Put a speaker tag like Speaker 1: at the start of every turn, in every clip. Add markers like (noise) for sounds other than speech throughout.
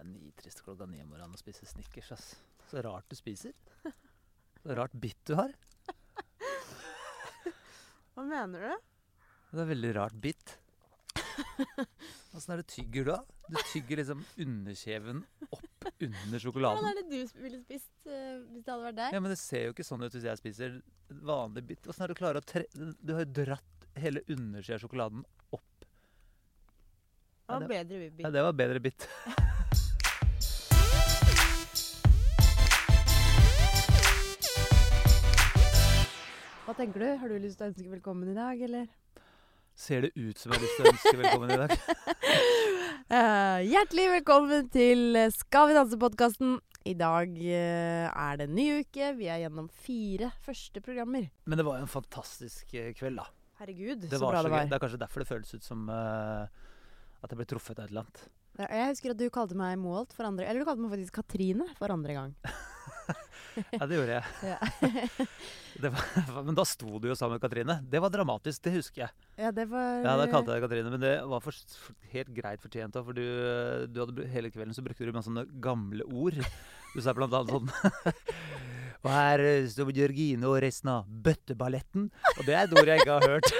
Speaker 1: er nitrist klokka ni om morgenen å spise snickers, ass. Så rart du spiser. Så rart bitt du har.
Speaker 2: Hva mener du?
Speaker 1: Det er veldig rart bitt. Åssen er det tygger du da? Du tygger liksom underkjeven opp under
Speaker 2: Hva
Speaker 1: sjokoladen.
Speaker 2: er det du sp- ville spist eh, hvis det hadde vært deg?
Speaker 1: Ja, men det ser jo ikke sånn ut hvis jeg spiser vanlig bitt. Åssen er det du klarer å tre... Du har jo dratt hele undersida av sjokoladen opp.
Speaker 2: Hva
Speaker 1: det-
Speaker 2: bedre vi
Speaker 1: Ja,
Speaker 2: bygd?
Speaker 1: det var bedre bitt.
Speaker 2: Hva tenker du? Har du lyst til å ønske velkommen i dag, eller?
Speaker 1: Ser det ut som jeg har lyst til å ønske velkommen i
Speaker 2: (laughs)
Speaker 1: dag?
Speaker 2: Eh, hjertelig velkommen til eh, Skal vi danse-podkasten. I dag eh, er det en ny uke. Vi er gjennom fire første programmer.
Speaker 1: Men det var jo en fantastisk eh, kveld, da.
Speaker 2: Herregud,
Speaker 1: Det,
Speaker 2: så
Speaker 1: var
Speaker 2: bra
Speaker 1: så
Speaker 2: det
Speaker 1: gøy.
Speaker 2: var.
Speaker 1: det er kanskje derfor det føles ut som eh, at jeg ble truffet av et eller annet.
Speaker 2: Ja, Jeg husker at du kalte meg Moholt for andre Eller du kalte meg faktisk Katrine for andre gang.
Speaker 1: Ja, det gjorde jeg.
Speaker 2: Ja.
Speaker 1: (laughs) det var, men da sto du jo sammen med Katrine. Det var dramatisk, det husker jeg.
Speaker 2: Ja, det var
Speaker 1: Ja, da kalte jeg deg Katrine, men det var for, for, helt greit fortjent òg, for du, du hadde, bru- hele kvelden så brukte du masse sånne gamle ord. Du sa blant annet sånn (laughs) Og her eh, står Georgine og resten av bøtteballetten. Og det er et ord jeg ikke har hørt.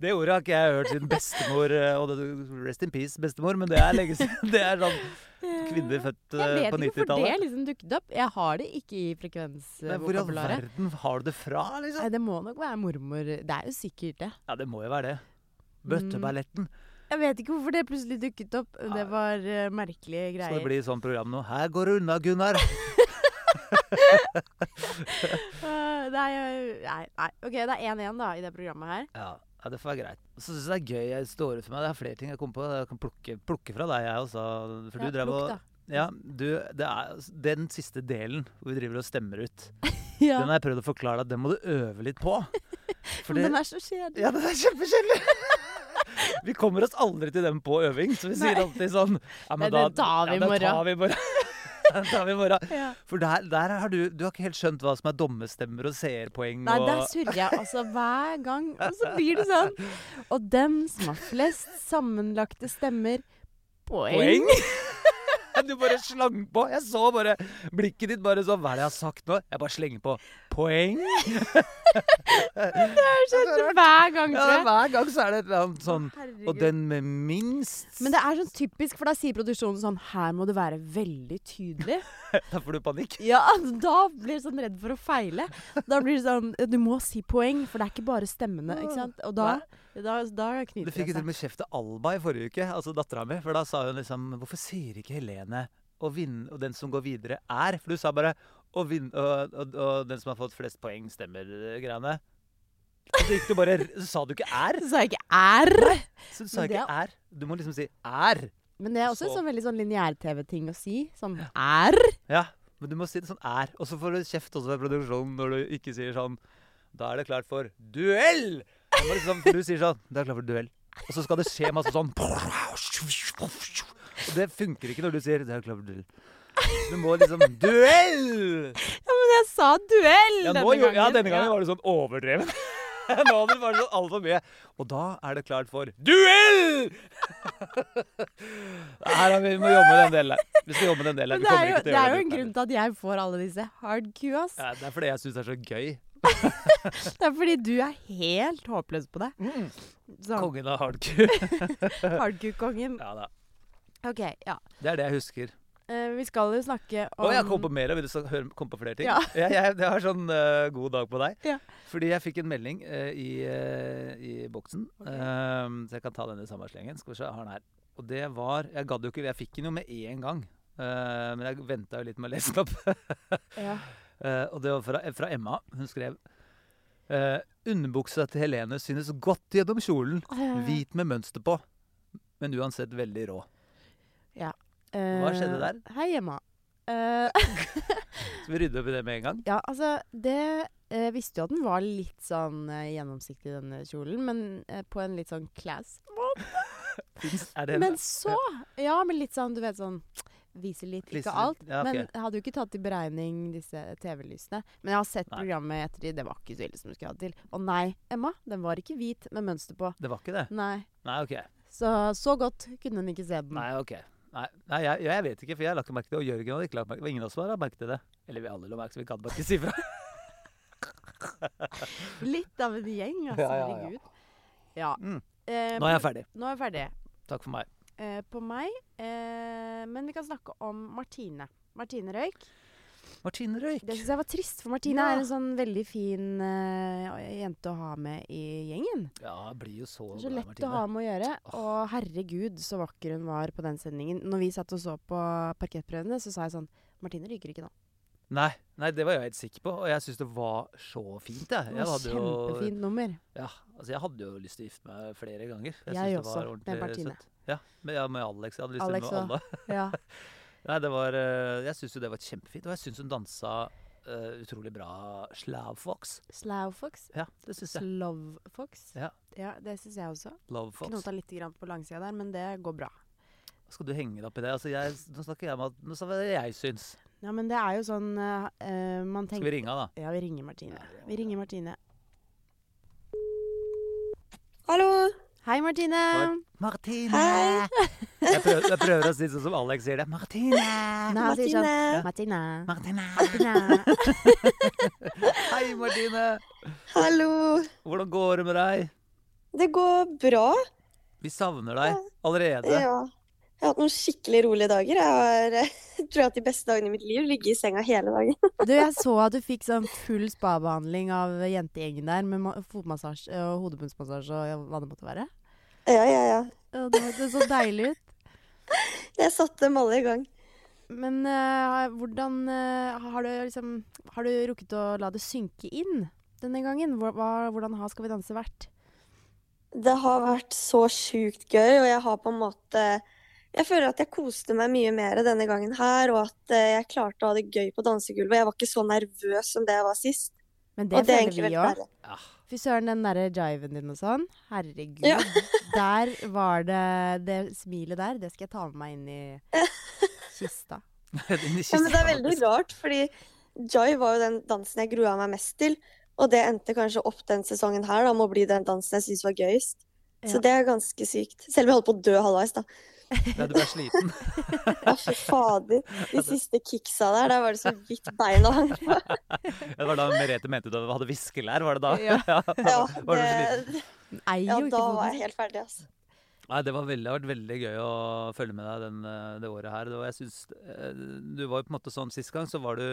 Speaker 1: Det ordet har ikke jeg hørt siden bestemor eh, og det, Rest in peace, bestemor, men det er lenge siden. (laughs) Det er sånn kvinner født
Speaker 2: Jeg
Speaker 1: eh, på
Speaker 2: vet ikke hvorfor det
Speaker 1: 90-tallet.
Speaker 2: liksom dukket opp. Jeg har det ikke i
Speaker 1: Nei, Hvor i
Speaker 2: eh,
Speaker 1: all
Speaker 2: frekvensvokabularet.
Speaker 1: verden har du det fra, liksom?
Speaker 2: Nei, det må nok være mormor. Det er jo sikkert det.
Speaker 1: Ja, det må jo være det. Bøtteballetten.
Speaker 2: Jeg vet ikke hvorfor det plutselig dukket opp. Det
Speaker 1: Nei.
Speaker 2: var eh, merkelige
Speaker 1: Skal
Speaker 2: greier.
Speaker 1: det bli sånn program nå? Her går det unna, Gunnar!
Speaker 2: Eh, nei, eh, nei, nei. Ok, det er 1-1 da i det programmet her.
Speaker 1: Ja, ja det får være greit. Så syns jeg det er gøy jeg står ut for meg. Det er flere ting jeg kom på. Jeg kan plukke, plukke fra deg, jeg også. For
Speaker 2: Ja,
Speaker 1: du drev
Speaker 2: plukk,
Speaker 1: og
Speaker 2: da.
Speaker 1: Ja, du, det er altså, den siste delen hvor vi driver og stemmer ut.
Speaker 2: (laughs) Ja,
Speaker 1: Den har jeg prøvd å forklare deg, den må du øve litt
Speaker 2: (laughs)
Speaker 1: på. For
Speaker 2: men
Speaker 1: det-
Speaker 2: den er så kjedelig.
Speaker 1: Ja, den er kjempekjedelig! (laughs) Vi kommer oss aldri til den på øving, så vi sier
Speaker 2: Nei.
Speaker 1: alltid sånn ja,
Speaker 2: Nei, den tar vi i
Speaker 1: ja, den
Speaker 2: morgen.
Speaker 1: tar vi i morgen. (laughs) Den tar vi i morgen.
Speaker 2: Ja.
Speaker 1: For der, der har du Du har ikke helt skjønt hva som er dommestemmer og seerpoeng
Speaker 2: Nei,
Speaker 1: og
Speaker 2: der surrer jeg altså hver gang, og så blir det sånn. Og dem som har flest sammenlagte stemmer Poeng!
Speaker 1: poeng. (laughs) du bare slang på. Jeg så bare blikket ditt bare sånn Hva er det jeg har sagt nå? Jeg bare slenger på
Speaker 2: (laughs)
Speaker 1: poeng. (laughs)
Speaker 2: Det har skjedd hver gang,
Speaker 1: Ja,
Speaker 2: tror jeg.
Speaker 1: hver gang så er det et eller annet sånn
Speaker 2: Herregud.
Speaker 1: Og den med minst
Speaker 2: Men det er sånn typisk, for da sier produksjonen sånn Her må du være veldig tydelig.
Speaker 1: (laughs) Da får du panikk.
Speaker 2: Ja, da blir du sånn redd for å feile. Da blir det sånn Du må si poeng, for det er ikke bare stemmene, ikke sant. Og da, da, da
Speaker 1: Du
Speaker 2: knyter
Speaker 1: fikk jo til
Speaker 2: det
Speaker 1: og
Speaker 2: seg.
Speaker 1: med kjeft av Alba i forrige uke, altså dattera mi. For da sa hun liksom Hvorfor sier ikke Helene og, vinn, og den som går videre, er? For du sa bare og, vinn, og, og, og den som har fått flest poeng, stemmer eh, greiene. Og så gikk du bare Så sa du ikke er.
Speaker 2: Så sa jeg ikke R.
Speaker 1: Så du sa
Speaker 2: Men det
Speaker 1: ikke er. Du må liksom si er.
Speaker 2: Men det er også
Speaker 1: Så-
Speaker 2: en sånn veldig sånn lineær-TV-ting å si. Sånn R.
Speaker 1: Ja, men du må si det sånn er. Og så får du kjeft også ved produksjonen når du ikke sier sånn Da er det klart for duell! Da må du Liksom, for du sier sånn Det er klart for duell. Og så skal det skje masse sånn Og det funker ikke når du sier Det er klart for duell. Du må liksom Duell!
Speaker 2: Ja, men jeg sa duell
Speaker 1: Ja,
Speaker 2: denne
Speaker 1: nå, jo-
Speaker 2: gangen.
Speaker 1: ja denne gangen var det sånn overdreven. (laughs) Nå hadde du bare sånn altfor mye. Og da er det klart for duell! (laughs) Her har vi, vi må jobbe med den delen der. Vi skal jobbe med den delen
Speaker 2: Men
Speaker 1: der.
Speaker 2: det
Speaker 1: Vi
Speaker 2: er,
Speaker 1: kommer ikke til
Speaker 2: jo, det
Speaker 1: å
Speaker 2: er
Speaker 1: gjøre
Speaker 2: jo en
Speaker 1: det.
Speaker 2: grunn til at jeg får alle disse hard Q, ass.
Speaker 1: Ja, det er fordi jeg syns det er så gøy.
Speaker 2: Det er fordi du er helt håpløs på det.
Speaker 1: Mm.
Speaker 2: Sånn
Speaker 1: Kongen av hardcore.
Speaker 2: (laughs) hard Q-kongen.
Speaker 1: ja da.
Speaker 2: OK, ja.
Speaker 1: Det er det jeg husker.
Speaker 2: Eh, vi skal jo snakke om
Speaker 1: Å, jeg kom på mer. Vil du så høre, komme på flere ting?
Speaker 2: mm. Ja.
Speaker 1: jeg, jeg, jeg har sånn eh, god dag på deg.
Speaker 2: Ja.
Speaker 1: Fordi jeg fikk en melding eh, i, eh, i boksen. Ehm, så jeg kan ta den i samme slengen. Skal vi se, jeg har den her. Og det var Jeg gadd jo ikke, jeg fikk den jo med én gang. Eh, men jeg venta jo litt med å lese den opp. (laughs)
Speaker 2: ja.
Speaker 1: Eh, og det var fra, fra Emma. Hun skrev uh, Underbuksa til Helene synes godt gjennom kjolen. Hvit med mønster på. Men uansett veldig rå. hva skjedde der?
Speaker 2: Eh, Hei, Emma. Eh,
Speaker 1: Skal (laughs) vi rydde opp i det med en gang?
Speaker 2: ja, altså Det Jeg visste jo at den var litt sånn eh, gjennomsiktig, denne kjolen, men eh, på en litt sånn class
Speaker 1: Fins- Er det
Speaker 2: Men så Ja, men litt sånn, du vet sånn Viser litt, ikke
Speaker 1: Lister-
Speaker 2: alt.
Speaker 1: ja, ok.
Speaker 2: Men jeg hadde jo ikke tatt i beregning disse TV-lysene. Men jeg har sett
Speaker 1: Nei.
Speaker 2: programmet etter de, det var ikke så ille som det skulle ha til. Og nei, Emma, den var ikke hvit med mønster på.
Speaker 1: Det var ikke det?
Speaker 2: Nei.
Speaker 1: Nei, ok.
Speaker 2: Så så godt kunne hun ikke se den.
Speaker 1: Nei, ok. Nei, nei jeg, jeg vet ikke, for jeg la ikke merke til det. Og Jørgen hadde ikke lagt merke til det. og Ingen av oss har lagt merke til det. Eller vi alle la merke til det, vi kan bare ikke si
Speaker 2: (laughs)
Speaker 1: fra.
Speaker 2: Litt av en gjeng, altså.
Speaker 1: Ja, ja, ja.
Speaker 2: Herregud. Ja.
Speaker 1: Mm.
Speaker 2: Eh,
Speaker 1: Nå er jeg ferdig.
Speaker 2: på- nå er jeg ferdig.
Speaker 1: Takk for meg.
Speaker 2: Eh, på meg. Eh, men vi kan snakke om Martine. Martine Røyk.
Speaker 1: Martine Røyk.
Speaker 2: Det syns jeg var trist, for Martine
Speaker 1: Ja.
Speaker 2: er en sånn veldig fin eh, jente å ha med i gjengen.
Speaker 1: Ja, blir jo så,
Speaker 2: Det er så
Speaker 1: glad i
Speaker 2: lett
Speaker 1: Martine.
Speaker 2: å ha med å gjøre.
Speaker 1: Åh.
Speaker 2: Og herregud, så vakker hun var på den sendingen. Når vi satt og så på parkettprøvene, så sa jeg sånn Martine ryker ikke nå.
Speaker 1: Nei, nei, det var jeg helt sikker på, og jeg syns det var så fint. Jeg.
Speaker 2: Det
Speaker 1: Jeg,
Speaker 2: var
Speaker 1: hadde jo,
Speaker 2: kjempefint
Speaker 1: (laughs)
Speaker 2: nummer.
Speaker 1: ja, altså jeg hadde jo lyst til å gifte meg flere ganger.
Speaker 2: Jeg
Speaker 1: synes det
Speaker 2: også,
Speaker 1: var
Speaker 2: med
Speaker 1: ordentlig
Speaker 2: Martine.
Speaker 1: søtt. Ja, med, ja, med Alex. Jeg hadde lyst til
Speaker 2: Alex
Speaker 1: med alle.
Speaker 2: Ja.
Speaker 1: Nei, det var, eh, jeg syns jo det var kjempefint, og jeg syns hun dansa eh, utrolig bra slavfox.
Speaker 2: Slowfox.
Speaker 1: Ja, det syns jeg.
Speaker 2: Slovfox.
Speaker 1: Ja.
Speaker 2: ja, det syns jeg også.
Speaker 1: Lovefox.
Speaker 2: Knota litt grann på langsida der, men det går bra.
Speaker 1: Skal du henge deg opp i det? Altså, jeg, nå snakker jeg om at, nå sa jeg hva jeg syns.
Speaker 2: Ja, men det er jo sånn eh, eh, man
Speaker 1: Skal vi
Speaker 2: tenker
Speaker 1: ringe henne, da?
Speaker 2: Ja, vi ringer Martine.
Speaker 1: Ja, vi ringer.
Speaker 2: Vi ringer Martine.
Speaker 3: Hallo.
Speaker 2: Hei, Martine!
Speaker 1: Martine!
Speaker 3: Hei.
Speaker 1: Jeg prøver, jeg prøver å si det sånn som Alex sier det. Martine!
Speaker 2: Nei, han sier sånn
Speaker 3: Martine.
Speaker 2: Martine.
Speaker 1: Martine!
Speaker 2: Martine.
Speaker 1: Hei, Martine!
Speaker 3: Hallo.
Speaker 1: Hvordan går det med deg?
Speaker 3: Det går bra.
Speaker 1: Vi savner deg allerede.
Speaker 3: Ja. Jeg har hatt noen skikkelig rolige dager. Jeg har eh, (laughs) tror jeg har hatt de beste dagene i mitt liv. Ligge i senga hele dagen.
Speaker 2: (laughs)
Speaker 3: (laughs)
Speaker 2: Du, jeg så at du fikk sånn full spabehandling av jentegjengen der, med ma- fotmassasje og hodebunnsmassasje og ja, hva det måtte være.
Speaker 3: Ja, ja, ja.
Speaker 2: Ja, det hørtes så deilig ut.
Speaker 3: Jeg satte dem alle i gang.
Speaker 2: Men eh, hvordan eh, har, du liksom, har du rukket å la det synke inn denne gangen? Hvor- hva, hvordan har Skal vi danse vært?
Speaker 3: Det har vært så sjukt gøy, og jeg har på en måte Jeg føler at jeg koste meg mye mer denne gangen her, og at eh, jeg klarte å ha det gøy på dansegulvet. Jeg var ikke så nervøs som det jeg var sist.
Speaker 2: Men det,
Speaker 3: Og det er
Speaker 2: føler
Speaker 3: egentlig
Speaker 2: vi
Speaker 3: veldig
Speaker 2: òg.
Speaker 3: deilig.
Speaker 1: Ja. (laughs)
Speaker 2: Fy søren, den derre jiven din og sånn. Herregud.
Speaker 3: Ja.
Speaker 2: (laughs) der var det Det smilet der, det skal jeg ta med meg inn i kista.
Speaker 1: Din
Speaker 3: Ja, men det er
Speaker 1: kiste,
Speaker 3: veldig
Speaker 1: faktisk.
Speaker 3: rart, fordi Joy var jo den dansen jeg grua meg mest til. Og det endte kanskje opp den sesongen her da, med å bli den dansen jeg syntes var gøyest.
Speaker 2: Ja.
Speaker 3: Så det er ganske sykt. Selv om jeg holdt på å dø halvveis, da.
Speaker 1: Ja, du ble sliten.
Speaker 3: Å, fy fader. De siste kicksa der, der var det så vidt beina hang.
Speaker 1: Det var da Merete mente du hadde viskelær, var det da? (laughs)
Speaker 2: Ja.
Speaker 3: Ja,
Speaker 1: da var du sliten.
Speaker 3: det,
Speaker 2: Den Eier
Speaker 3: ja,
Speaker 2: jo
Speaker 3: da
Speaker 2: ikke
Speaker 3: var
Speaker 2: foten.
Speaker 3: jeg helt ferdig, altså.
Speaker 1: Nei, det, var veldig, det har vært veldig gøy å følge med deg den, eh, det året her. Det var, jeg synes, eh, du var jo på en måte sånn sist gang, så var du,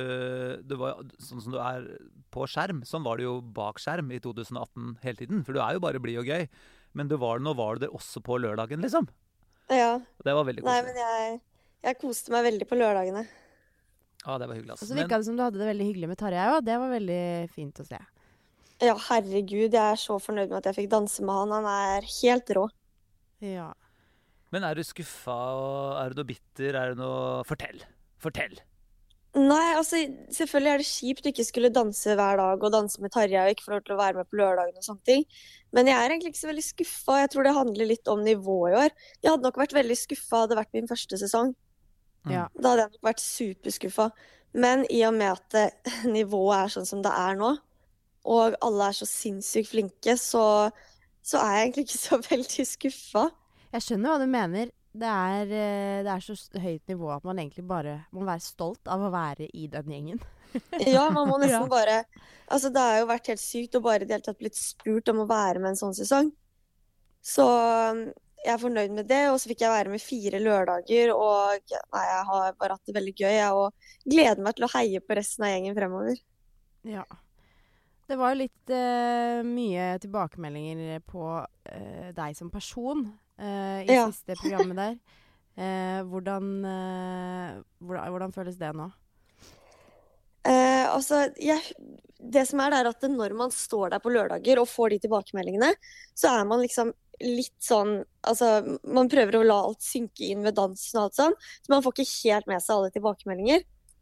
Speaker 1: du var, jo sånn som du er på skjerm. Sånn var du jo bak skjerm i 2018 hele tiden, for du er jo bare blid og gøy. Men du var, nå var du det også på lørdagen, liksom.
Speaker 3: Ja.
Speaker 1: Det var veldig
Speaker 3: Nei,
Speaker 1: koselig.
Speaker 3: men jeg, jeg koste meg veldig på lørdagene.
Speaker 1: Ja, det var hyggelig.
Speaker 2: Og
Speaker 3: Altså,
Speaker 1: ass.
Speaker 2: så
Speaker 1: Men-
Speaker 2: virka det som du hadde det veldig hyggelig med Tarjei òg. Det var veldig fint å se.
Speaker 3: Ja, herregud, jeg er så fornøyd med at jeg fikk danse med han. Han er helt rå.
Speaker 2: Ja.
Speaker 1: Men er du skuffa, og er du noe bitter, er du noe Fortell! Fortell! (laughs)
Speaker 3: Nei, altså selvfølgelig er det kjipt å ikke skulle danse hver dag og danse med Tarjei og ikke få lov til å være med på lørdagen og sånne ting. Men jeg er egentlig ikke så veldig skuffa. Jeg tror det handler litt om nivået i år. Jeg hadde nok vært veldig skuffa hadde det vært min første sesong.
Speaker 1: Mm.
Speaker 2: Ja.
Speaker 3: Da hadde jeg nok vært superskuffa. Men i og med at eh, (laughs) nivået er sånn som det er nå, og alle er så sinnssykt flinke, så, så er jeg egentlig ikke så (laughs) veldig skuffa.
Speaker 2: Jeg skjønner hva du mener. Det er, eh, det er så s- høyt nivå at man egentlig bare må være stolt av å være i den gjengen.
Speaker 3: (laughs) Ja, man
Speaker 2: (laughs)
Speaker 3: må
Speaker 2: Ja.
Speaker 3: nesten bare Altså, det har jo vært helt sykt å bare i det hele tatt blitt spurt om å være med en sånn sesong. Så um, jeg er fornøyd med det, og så fikk jeg være med fire lørdager, og nei, jeg har bare hatt det veldig gøy, jeg, og gleder meg til å heie på resten av gjengen fremover.
Speaker 2: Ja. Det var jo litt eh, mye tilbakemeldinger på eh, deg som person eh, i
Speaker 3: Ja.
Speaker 2: siste programmet der. Eh, hvordan, eh, hvordan, hvordan føles det nå?
Speaker 3: Eh, altså, jeg, det som er, det er at når man står der på lørdager og får de tilbakemeldingene, så er man liksom litt sånn Altså, man prøver å la alt synke inn ved dansen og alt sånn, så man får ikke helt med seg alle tilbakemeldinger.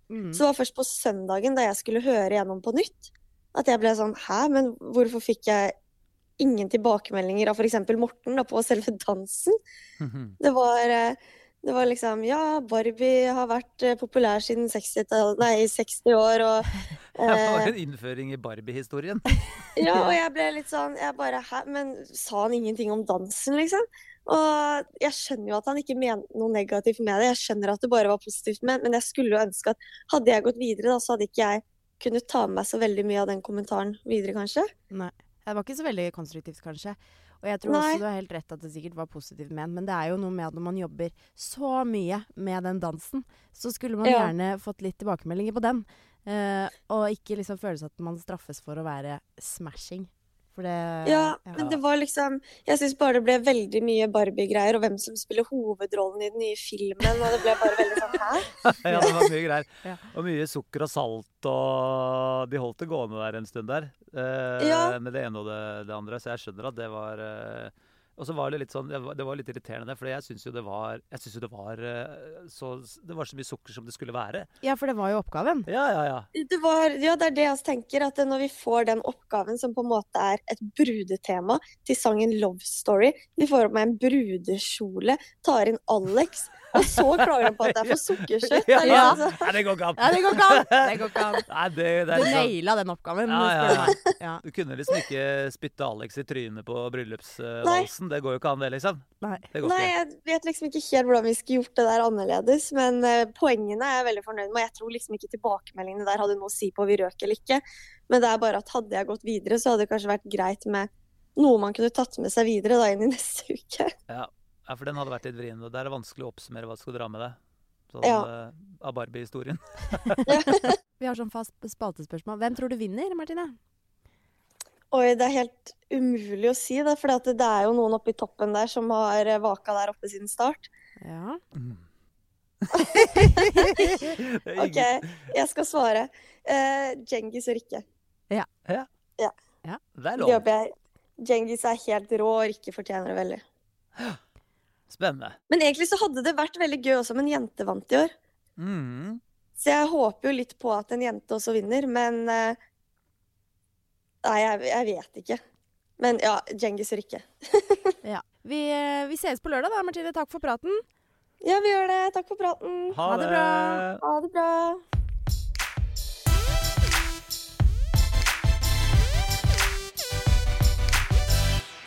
Speaker 2: Mm.
Speaker 3: Så det var først på søndagen da jeg skulle høre gjennom på nytt, at jeg ble sånn Hæ, men hvorfor fikk jeg ingen tilbakemeldinger av f.eks. Morten da, på selve dansen? Det var, eh, det var liksom Ja, Barbie har vært eh, populær siden 60-tall- nei, 60 år,
Speaker 1: (laughs)
Speaker 3: og
Speaker 1: Det var
Speaker 3: eh,
Speaker 1: en innføring i Barbie-historien.
Speaker 3: (laughs) Ja, og jeg ble litt sånn Jeg bare Hæ, men sa han ingenting om dansen, liksom? Og jeg skjønner jo at han ikke mente noe negativt med det, jeg skjønner at det bare var positivt ment, men jeg skulle jo ønske at hadde jeg gått videre, da, så hadde ikke jeg kunnet ta med meg så veldig mye av den kommentaren videre, kanskje.
Speaker 2: Det var ikke så veldig konstruktivt, kanskje. Og jeg tror
Speaker 3: Nei.
Speaker 2: også du har helt rett at det sikkert var positivt ment, men det er jo noe med at når man jobber så mye med den dansen, så skulle man
Speaker 3: Ja.
Speaker 2: gjerne fått litt tilbakemeldinger på den. eh, og ikke liksom føles at man straffes for å være smashing. For det
Speaker 3: Ja,
Speaker 2: ja.
Speaker 3: men det var liksom Jeg syns bare det ble veldig mye Barbie-greier, og hvem som spiller hovedrollen i den nye filmen, og det ble bare veldig sånn hæ?
Speaker 1: ja, det var mye greier.
Speaker 2: Ja.
Speaker 1: Og mye sukker og salt og De holdt det gående der en stund der. eh,
Speaker 3: Ja.
Speaker 1: Med det ene og det, det andre. Så jeg skjønner at det var eh, Og så var det litt sånn Det var, det var litt irriterende, det, for jeg syns jo det var Jeg synes jo det var eh, så Det var så mye sukker som det skulle være.
Speaker 2: ja, for det var jo oppgaven.
Speaker 1: Ja, ja, ja.
Speaker 3: Det var, ja, det er det jeg også tenker, at når vi får den oppgaven som på en måte er et brudetema til sangen Love Story, vi får opp med en brudekjole, tar inn Alex, og så klager han på at det er for sukkersøtt. Det er
Speaker 1: (laughs) Ja.
Speaker 3: liksom sånn-
Speaker 1: Nei, det går ikke an!
Speaker 2: Ja, det går ikke an! (laughs) Det går ikke an.
Speaker 1: Nei, det, det
Speaker 2: Du
Speaker 1: er liksom,
Speaker 2: naila den oppgaven.
Speaker 1: Ja, ja,
Speaker 2: spør du meg. (laughs) Ja.
Speaker 1: du kunne liksom ikke spytte Alex i trynet på bryllupsvalsen. Det går jo ikke an, det, liksom.
Speaker 2: Nei.
Speaker 1: Det går
Speaker 3: Nei,
Speaker 1: ikke.
Speaker 3: jeg vet liksom ikke helt hvordan vi skulle gjort det der annerledes, men eh, poengene er jeg veldig fornøyd med. og Jeg tror liksom ikke tilbakemeldingene der hadde noe å si på om vi røk eller ikke, men det er bare at hadde jeg gått videre, så hadde det kanskje vært greit med noe man kunne tatt med seg videre da inn i neste uke.
Speaker 1: Ja, for den hadde vært litt vrien. Og det er det vanskelig å oppsummere hva du skal dra med deg. Sånn
Speaker 3: Ja.
Speaker 1: eh, av Barbie-historien. (laughs)
Speaker 2: Vi har sånn fast spaltespørsmål. Hvem tror du vinner, Martine?
Speaker 3: Oi, det er helt umulig å si, da, for det det er jo noen oppe i toppen der som har eh, vaka der oppe siden start.
Speaker 2: Ja.
Speaker 1: Mm.
Speaker 2: (laughs)
Speaker 1: Det er
Speaker 3: OK,
Speaker 1: ingen-
Speaker 3: jeg skal svare. Eh, Djengis og Rikke.
Speaker 1: Det er
Speaker 3: Det
Speaker 1: lov.
Speaker 3: håper jeg. Djengis er helt rå, og Rikke fortjener det veldig.
Speaker 1: Spennende.
Speaker 3: Men egentlig så hadde det vært veldig gøy også om en jente vant i år.
Speaker 1: Mhm.
Speaker 3: Så jeg håper jo litt på at en jente også vinner, men eh, Nei, jeg, jeg vet ikke. Men ja, Djengis og Rikke.
Speaker 2: ja. Vi, eh, vi ses på lørdag da, Martine. Takk for praten.
Speaker 3: Ja, vi gjør det. Takk for praten.
Speaker 2: Ha det bra.
Speaker 3: Ha det bra.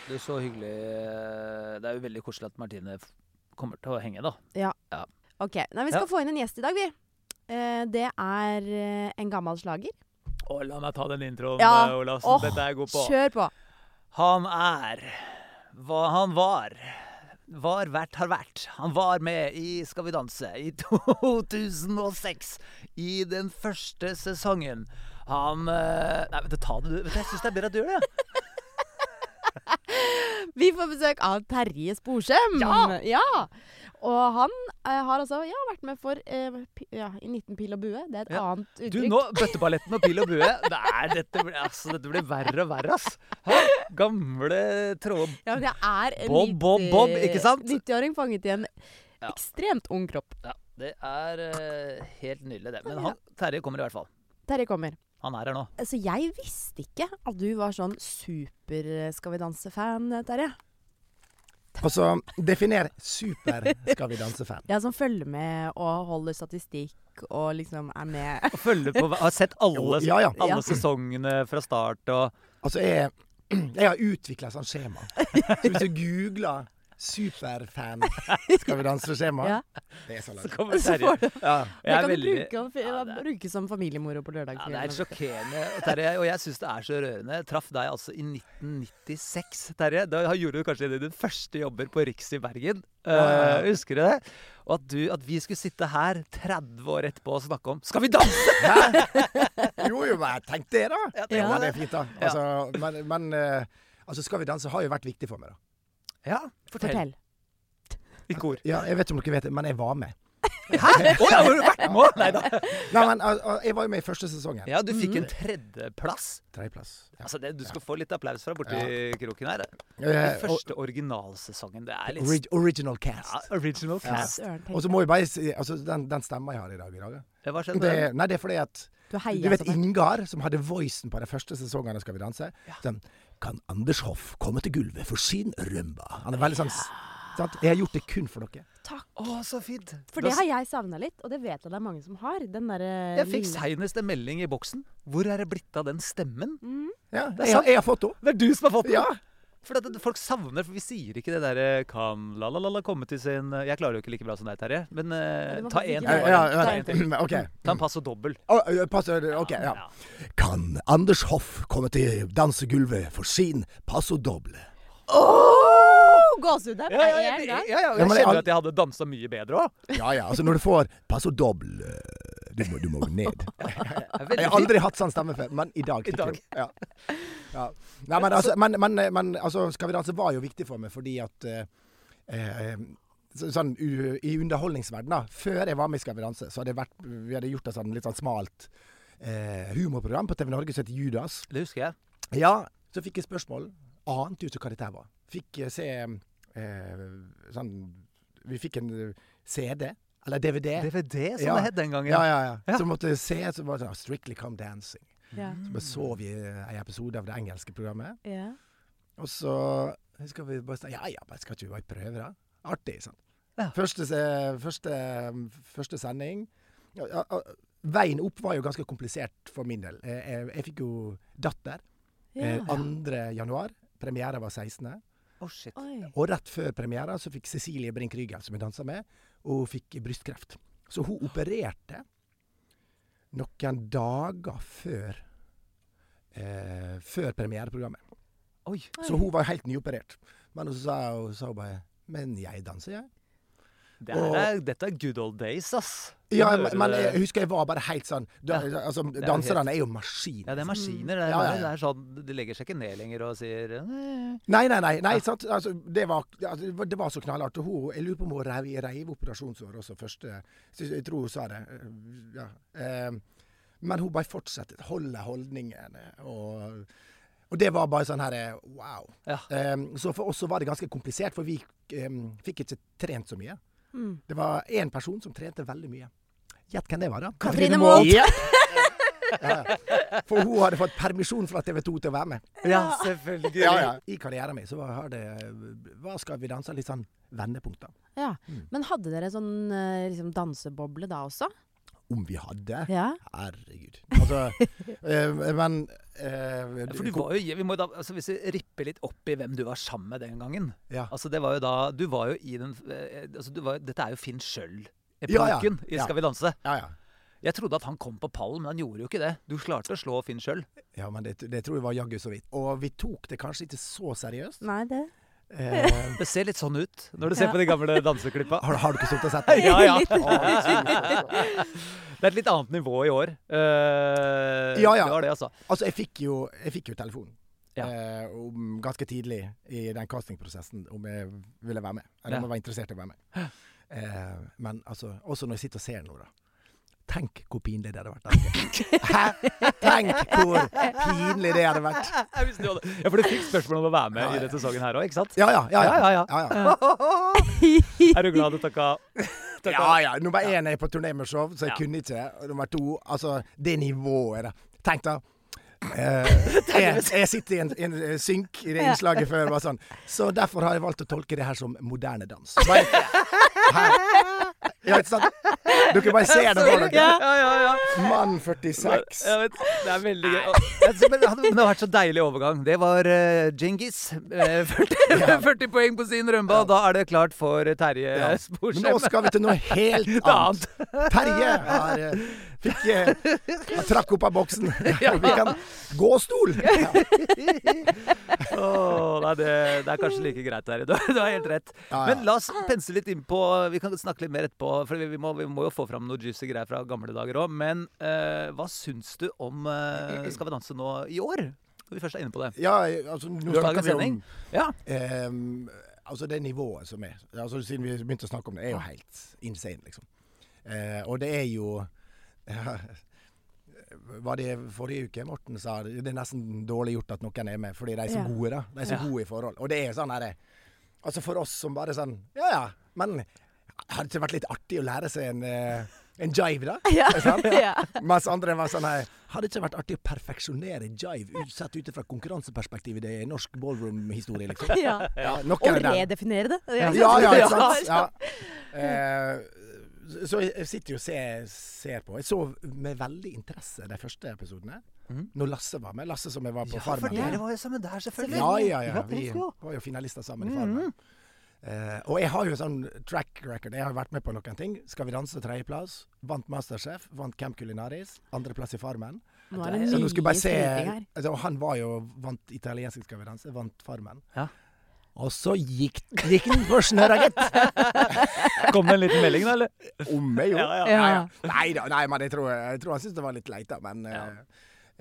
Speaker 1: Du, så hyggelig. Det er jo veldig koselig at Martine f- kommer til å henge, da.
Speaker 2: Ok, Nei, Vi skal
Speaker 1: Ja.
Speaker 2: få inn en gjest i dag, vi. Eh, det er eh, en gammel slager.
Speaker 1: Å, la meg ta den introen,
Speaker 2: Ja.
Speaker 1: eh, Olassen.
Speaker 2: Åh,
Speaker 1: Dette er jeg god på.
Speaker 2: Kjør på!
Speaker 1: Han er hva han var. Var, vært, har vært. Han var med i Skal vi danse i (laughs) 2006. I den første sesongen. Han eh, Nei, vet du, ta det du. Vet du, jeg syns det er bedre at du gjør det.
Speaker 2: Vi får besøk av Terje Sporsem.
Speaker 1: Ja!
Speaker 2: Og han eh, har altså ja, vært med for eh, pi, ja, i 19 pil og bue. Det er et
Speaker 1: Ja.
Speaker 2: annet
Speaker 1: Du,
Speaker 2: uttrykk.
Speaker 1: nå Bøtteballetten og pil og bue. Nei, dette blir, altså, dette blir verre og verre, ass. Hæ? Gamle tråd...
Speaker 2: Ja, men jeg er en
Speaker 1: Bob, Bob,
Speaker 2: 90
Speaker 1: Bob, ikke sant?
Speaker 2: 90-åring fanget i en
Speaker 1: Ja.
Speaker 2: ekstremt ung kropp.
Speaker 1: Ja, det er eh, helt nydelig, det. Men han, Terje kommer i hvert fall.
Speaker 2: Terje kommer.
Speaker 1: Han er her nå.
Speaker 2: Altså, jeg visste ikke at du var sånn super eh, Skal vi danse-fan, eh, Terje.
Speaker 4: Altså, definer super Skal vi danse-fan.
Speaker 2: Ja, som følger med og holder statistikk og liksom er med.
Speaker 1: Og følger på Har sett alle,
Speaker 4: Jo, ja, ja.
Speaker 1: alle
Speaker 2: Ja.
Speaker 1: sesongene fra start og
Speaker 4: Altså, jeg, jeg har utvikla sånn skjema. Så hvis du googler 'superfan Skal vi danse'-skjema,
Speaker 2: Ja.
Speaker 4: det er så
Speaker 1: Så
Speaker 4: langt.
Speaker 1: kommer
Speaker 2: (laughs) Så
Speaker 1: Terje.
Speaker 2: får du
Speaker 1: Ja,
Speaker 2: Det
Speaker 1: (laughs) jeg er
Speaker 2: kan du
Speaker 1: veldig-
Speaker 2: bruke, om-
Speaker 1: Ja, det er-
Speaker 2: bruke som familiemoro på
Speaker 1: ja, det er
Speaker 2: lørdagsfjellene.
Speaker 1: sjokkerende. Og Terje, og jeg syns det er så rørende. Jeg traff deg altså i 1996, Terje. Da har- gjorde du kanskje en av dine første jobber på Riks i Bergen.
Speaker 4: ja, ja.
Speaker 1: Eh, husker du det? Og at, du, at vi skulle sitte her 30 år etterpå og snakke om Skal vi danse?!
Speaker 4: Jo, jo, men tenk det, da.
Speaker 1: Ja,
Speaker 4: Jo,
Speaker 1: tenk
Speaker 4: men det
Speaker 1: det.
Speaker 4: er fint, da. Altså, men men eh, altså, 'Skal vi danse' har jo vært viktig for meg, da.
Speaker 1: Ja, fortell.
Speaker 2: Fortell.
Speaker 1: I kor.
Speaker 4: Ja, jeg vet ikke om dere vet det, men jeg var med.
Speaker 1: Hæ?! Å ja, har du vært med? Nei da.
Speaker 4: Nei, men al- al- Jeg var jo med i første sesongen.
Speaker 1: Ja, du fikk en tredjeplass.
Speaker 4: Tredjeplass. Ja.
Speaker 1: Altså, det, du skal få litt applaus fra borti kroken her.
Speaker 4: Eh,
Speaker 1: Den første originalsesongen. Det er litt
Speaker 4: orig- original cast.
Speaker 1: ja, Original cast.
Speaker 2: Søren, tenk
Speaker 4: Og så må jeg bare si altså, den, den stemma jeg har i dag, i dag ja.
Speaker 1: Hva skjedde med den?
Speaker 4: det, Nei, det er fordi at
Speaker 2: Du
Speaker 4: Du
Speaker 2: heier
Speaker 4: vet
Speaker 2: sånn.
Speaker 4: Ingar, som hadde voicen på de første sesongene av Skal vi danse? Sånn, kan Anders Hoff komme til gulvet for sin rumba? Han er veldig sånn s- sant? Jeg har gjort det kun for dere.
Speaker 1: Å, så fint!
Speaker 2: For
Speaker 1: Da
Speaker 2: det har jeg savna litt, og det vet jeg det er mange som har. Den derre
Speaker 1: Jeg fikk seinest en melding i boksen. Hvor er det blitt av den stemmen?
Speaker 4: Ja,
Speaker 1: er
Speaker 4: jeg, har-
Speaker 1: sant.
Speaker 4: jeg har fått henne.
Speaker 1: Det er du som har fått
Speaker 4: Mm. Ja.
Speaker 1: For at folk savner For vi sier ikke det derre Kan la-la-la komme til sin eh, Jeg klarer jo ikke like bra som deg, Terje, men eh,
Speaker 2: Ja, det må
Speaker 1: ta
Speaker 2: faktisk
Speaker 1: én
Speaker 2: ikke
Speaker 1: til.
Speaker 4: Ja,
Speaker 2: være-
Speaker 1: bare.
Speaker 4: ja,
Speaker 1: Ta
Speaker 4: ja.
Speaker 1: en til.
Speaker 4: OK.
Speaker 1: Ta en pass og dobbel.
Speaker 4: Å, ø, passer det? OK, ja. Kan Anders Hoff komme til dansegulvet for sin passo doble?
Speaker 2: Oh! Gåsehud der
Speaker 1: Ja, ja,
Speaker 2: med
Speaker 1: ja,
Speaker 2: en
Speaker 1: ja,
Speaker 2: gang.
Speaker 1: ja, ja.
Speaker 4: Ja,
Speaker 1: Jeg
Speaker 4: men det-
Speaker 1: kjenner jo at jeg hadde dansa mye bedre òg.
Speaker 4: Ja ja, altså når du får passo doble du må, du må gå ned. Jeg har
Speaker 1: Veldig
Speaker 4: aldri hatt sånn stemme før, men i dag.
Speaker 1: I dag.
Speaker 4: fikk jeg. Ja. Ja. Nei, men, altså, men, men, men altså, Skal vi danse var jo viktig for meg fordi at eh, eh, så- Sånn, u, I underholdningsverdenen, før jeg var med i Skal vi danse, så hadde jeg vært, vi hadde gjort et sånn, litt sånn smalt eh, humorprogram på TV Norge som het Judas.
Speaker 1: Det husker jeg.
Speaker 4: Ja, så fikk jeg spørsmål. Ante jo ikke hva dette her var. Fikk eh, se eh, sånn Vi fikk en eh, CD, eller DVD.
Speaker 1: DVD, som
Speaker 4: Ja.
Speaker 1: det het den gangen.
Speaker 4: Ja, ja, ja.
Speaker 1: Ja.
Speaker 4: Så måtte jeg se, så var det sånn Strictly Come Dancing.
Speaker 2: Ja.
Speaker 4: Så bare så vi eh, en episode av det engelske programmet.
Speaker 2: Ja.
Speaker 4: Og så skal vi bare si Ja ja, bare skal ikke vi bare prøve, da? Artig, sant?
Speaker 1: Ja.
Speaker 4: Første, se- første, første sending ja, ja, ja, Veien opp var jo ganske komplisert for min del. Jeg, jeg, jeg fikk jo datter. Eh,
Speaker 2: Ja.
Speaker 4: 2. januar. Premiera var 16.
Speaker 1: Å, shit.
Speaker 2: Oi.
Speaker 4: Og rett før premiera så fikk Cecilie Brink Rygel, som jeg dansa med, og hun fikk brystkreft. Så hun opererte noen dager før eh, før premiereprogrammet.
Speaker 1: Oi.
Speaker 4: Så hun var helt nyoperert. Men så sa hun, sa hun bare Men jeg danser, jeg.
Speaker 1: Det her er, dette er good old days, ass.
Speaker 4: Ja,
Speaker 1: Nå
Speaker 4: men,
Speaker 1: hører
Speaker 4: men
Speaker 1: du det.
Speaker 4: jeg husker jeg var bare helt sånn da, altså,
Speaker 1: jo
Speaker 4: Danserne er jo maskiner.
Speaker 1: Ja, det er maskiner. Det er,
Speaker 4: Ja, ja,
Speaker 1: bare-
Speaker 4: ja.
Speaker 1: Det er sånn, de legger seg ikke ned lenger og sier «Nei».
Speaker 4: Nei, nei, nei. nei sant? Altså, det, var, ja, det var- det var så knallhardt. Og hun, jeg lurer på om hun reiv, reiv operasjonsåret også første så Jeg tror hun sa det. eh, Ja. Eh, Men hun bare fortsatte. Holde holdningene. Og, og det var bare sånn her eh, wow.
Speaker 1: Ja.
Speaker 4: Eh, Så for oss så var det ganske komplisert, for vi eh, fikk ikke trent så mye.
Speaker 2: Mm.
Speaker 4: Det var én person som trente veldig mye. Gjett hvem det var, da?
Speaker 2: Katrine Moholt.
Speaker 4: Ja. Ja, ja. For hun hadde fått permisjon fra TV 2 til å være med.
Speaker 1: Ja, selvfølgelig.
Speaker 4: I karrieren min så var har det Hva skal vi danse? Litt sånn vendepunkt, da.
Speaker 2: Ja. Men hadde dere sånn eh, liksom danseboble da også?
Speaker 4: Om vi hadde?
Speaker 2: Ja.
Speaker 4: Herregud.
Speaker 1: (laughs)
Speaker 4: Altså, eh, men eh,
Speaker 1: For du var jo, vi må da, altså hvis vi ripper litt opp i hvem du var sammen med den gangen
Speaker 4: Ja.
Speaker 1: Altså det var jo da, Du var jo i den eh, altså du var, jo- Dette er jo Finn
Speaker 4: Ja, ja.
Speaker 1: Schjøll-epoken i
Speaker 4: Ja.
Speaker 1: Skal vi danse.
Speaker 4: Ja, ja.
Speaker 1: Jeg trodde at han kom på pallen, men han gjorde jo ikke det. Du klarte å slå Finn Schjøll.
Speaker 4: ja, men det, det tror jeg var jaggu så vidt. Og vi tok det kanskje ikke så seriøst.
Speaker 2: Nei, det
Speaker 4: Eh,
Speaker 1: Det ser litt sånn ut når du ser
Speaker 2: Ja.
Speaker 1: på de gamle danseklippa.
Speaker 4: har, har du ikke
Speaker 1: (laughs)
Speaker 4: sittet og sett det?
Speaker 1: Ja, ja. Det
Speaker 4: Ah,
Speaker 1: er et litt annet nivå i år. Eh,
Speaker 4: Ja, ja.
Speaker 1: Det var det, altså.
Speaker 4: altså, jeg fikk jo, jeg fikk jo telefon.
Speaker 1: Ja.
Speaker 4: eh, om, ganske tidlig i den castingprosessen om jeg ville være med. Eller om
Speaker 1: Ja.
Speaker 4: jeg var interessert i å være med. Eh, men altså, også når jeg sitter og ser nå, da. Tenk hvor pinlig det hadde
Speaker 1: (laughs)
Speaker 4: vært. Anke. Hæ? Tenk hvor pinlig det hadde vært.
Speaker 1: Jeg visste jo det. Ja, For du fikk spørsmål om å være med i denne sesongen her òg, ikke sant?
Speaker 4: Ja ja, ja ja.
Speaker 1: Ja, ja, ja.
Speaker 4: ja,
Speaker 1: Er du glad du
Speaker 4: (laughs)
Speaker 1: takka?
Speaker 4: ja. ja. Nummer én er på turné med show, så jeg
Speaker 1: Ja.
Speaker 4: kunne ikke. Og Nummer to Altså, det nivået der. Tenk da. Eh, jeg, jeg sitter i en, en eh, synk i det innslaget før. Bare sånn. Så derfor har jeg valgt å tolke det her som moderne dans. Bare, Hæ? ja, ikke sant? Dere bare ser det for dere.
Speaker 1: Ja, ja, ja.
Speaker 4: Mann 46.
Speaker 1: Jeg vet, det er veldig gøy. Jeg synes- Men det hadde- men det har vært så deilig overgang. Det var uh, Genghis. eh, 40, (laughs) 40 poeng på sin rømba, og da er det klart for Terje
Speaker 4: Ja. Men nå
Speaker 1: (laughs) Sporsem.
Speaker 4: skal vi til noe helt annet. Terje har, eh, fikk, eh, han trakk opp av boksen. Vi kan Gåstol! Ja.
Speaker 1: Åh, nei, det, det er kanskje like greit, Terje. Du, har- du har helt rett.
Speaker 4: Ja, ja.
Speaker 1: Men la oss pense litt innpå Vi kan snakke litt mer etterpå, for vi, vi, må, vi må jo få fram noe juicy greier fra gamle dager òg. Men eh, hva syns du om eh, Skal vi danse nå i år? Når vi først er inne på det.
Speaker 4: ja, altså nå snakker
Speaker 1: Lørdagens
Speaker 4: vi om
Speaker 1: sending. Ja.
Speaker 4: Ehm, altså det nivået som er altså Siden vi begynte å snakke om det, er jo helt insane, liksom. Eh, og det er jo (laughs) Var det forrige uke Morten sa det er nesten dårlig gjort at noen er med, fordi de er så
Speaker 2: Ja.
Speaker 4: gode, da. De er så
Speaker 1: Ja.
Speaker 4: gode i forhold. Og det er sånn herre Altså for oss som bare sånn Ja ja, men hadde det ikke vært litt artig å lære seg en, eh, en jive, da?
Speaker 2: (laughs) Ja.
Speaker 4: Er sant?
Speaker 2: ja.
Speaker 4: Mens andre var sånn her Hadde det ikke vært artig å perfeksjonere jive ut- sett ut fra konkurranseperspektivet i det er norsk ballroom-historie, liksom?
Speaker 2: ja.
Speaker 4: Ja, nok
Speaker 2: Og
Speaker 4: er det der.
Speaker 2: redefinere det.
Speaker 4: Ja, ja, ikke
Speaker 2: Ja.
Speaker 4: sant? Ja. Eh, så jeg sitter jo og ser, ser på. Jeg så med veldig interesse de første episodene.
Speaker 1: Mhm.
Speaker 4: Når Lasse var med. Lasse som jeg var på
Speaker 1: Ja, for
Speaker 4: Farmen med.
Speaker 1: dere var jo sammen der, selvfølgelig.
Speaker 4: Ja, ja, ja.
Speaker 1: Ja,
Speaker 4: Vi
Speaker 1: Påskeå.
Speaker 4: var jo finalister sammen i Farmen. Eh, og jeg har jo sånn track record. Jeg har vært med på noen ting. Skal vi danse tredjeplass. Vant Masterchef. Vant Camp Culinaris. Andreplass i Farmen.
Speaker 2: Nå er det mye
Speaker 4: Så nå skulle jeg bare se
Speaker 2: skryting her.
Speaker 4: altså, Han var jo vant italiensk Skal vi danse. Vant Farmen.
Speaker 1: Ja.
Speaker 4: Og så gikk, gikk den på
Speaker 1: (laughs)
Speaker 4: snørra, gitt!
Speaker 1: Kom det en liten melding, da, eller?
Speaker 4: Om meg, jo.
Speaker 1: Ja, ja.
Speaker 4: Nei da, nei, men jeg tror, jeg tror han syntes det var litt leit, da. Men,
Speaker 1: Ja.
Speaker 4: eh,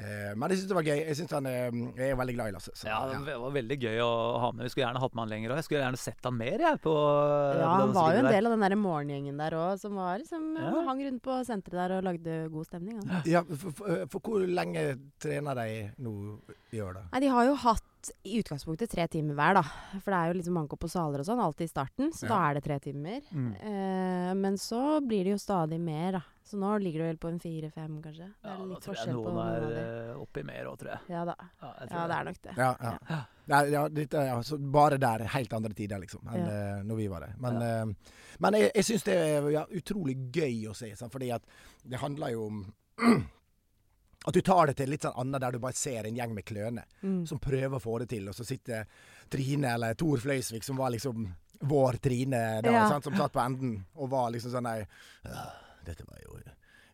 Speaker 4: eh, men jeg syns det var gøy. Jeg, synes han, eh, jeg er veldig glad i Lasse.
Speaker 1: (laughs)
Speaker 4: så,
Speaker 1: Ja,
Speaker 4: ja.
Speaker 1: det var veldig gøy å ha med. Vi skulle gjerne hatt med han lenger òg. Jeg skulle gjerne sett han mer, jeg. På,
Speaker 2: Ja,
Speaker 1: eh, på
Speaker 2: han
Speaker 1: denne
Speaker 2: var
Speaker 1: skolen
Speaker 2: jo en
Speaker 1: der.
Speaker 2: del av den der morgengjengen der òg, som var liksom,
Speaker 1: Ja.
Speaker 2: hang rundt på senteret der og lagde god stemning. Da.
Speaker 4: Ja, for, for, for hvor lenge trener de nå i år, da?
Speaker 2: Nei, de har jo hatt i utgangspunktet tre timer hver, da. For det er jo liksom manko på saler og sånn, alltid i starten. Så
Speaker 4: Ja.
Speaker 2: da er det tre timer.
Speaker 1: Mm.
Speaker 2: Eh, men så blir det jo stadig mer, da. Så nå ligger det vel på en fire-fem, kanskje. Det
Speaker 1: Ja,
Speaker 2: er
Speaker 1: da
Speaker 2: litt
Speaker 1: tror jeg
Speaker 2: forskjell på
Speaker 1: noen
Speaker 2: noen av
Speaker 1: er
Speaker 2: de.
Speaker 1: eh, oppi mer òg, tror jeg.
Speaker 2: Ja da.
Speaker 1: Ja, jeg tror
Speaker 2: Ja, det er nok det.
Speaker 4: Ja, ja. Nei, ja, dette, ja så bare der. Helt andre tider, liksom, enn
Speaker 2: Ja.
Speaker 4: eh, når vi var der. Men, eh, men jeg, jeg syns det er ja, utrolig gøy å se, sant? fordi at det handler jo om (clears throat) at du tar det til litt sånn annet, der du bare ser en gjeng med kløne
Speaker 2: Mm.
Speaker 4: som prøver å få det til, og så sitter Trine eller Tor Fløysvik, som var liksom vår Trine da,
Speaker 2: Ja.
Speaker 4: sant? som satt på enden og var liksom sånn nei, «Åh, Dette var jo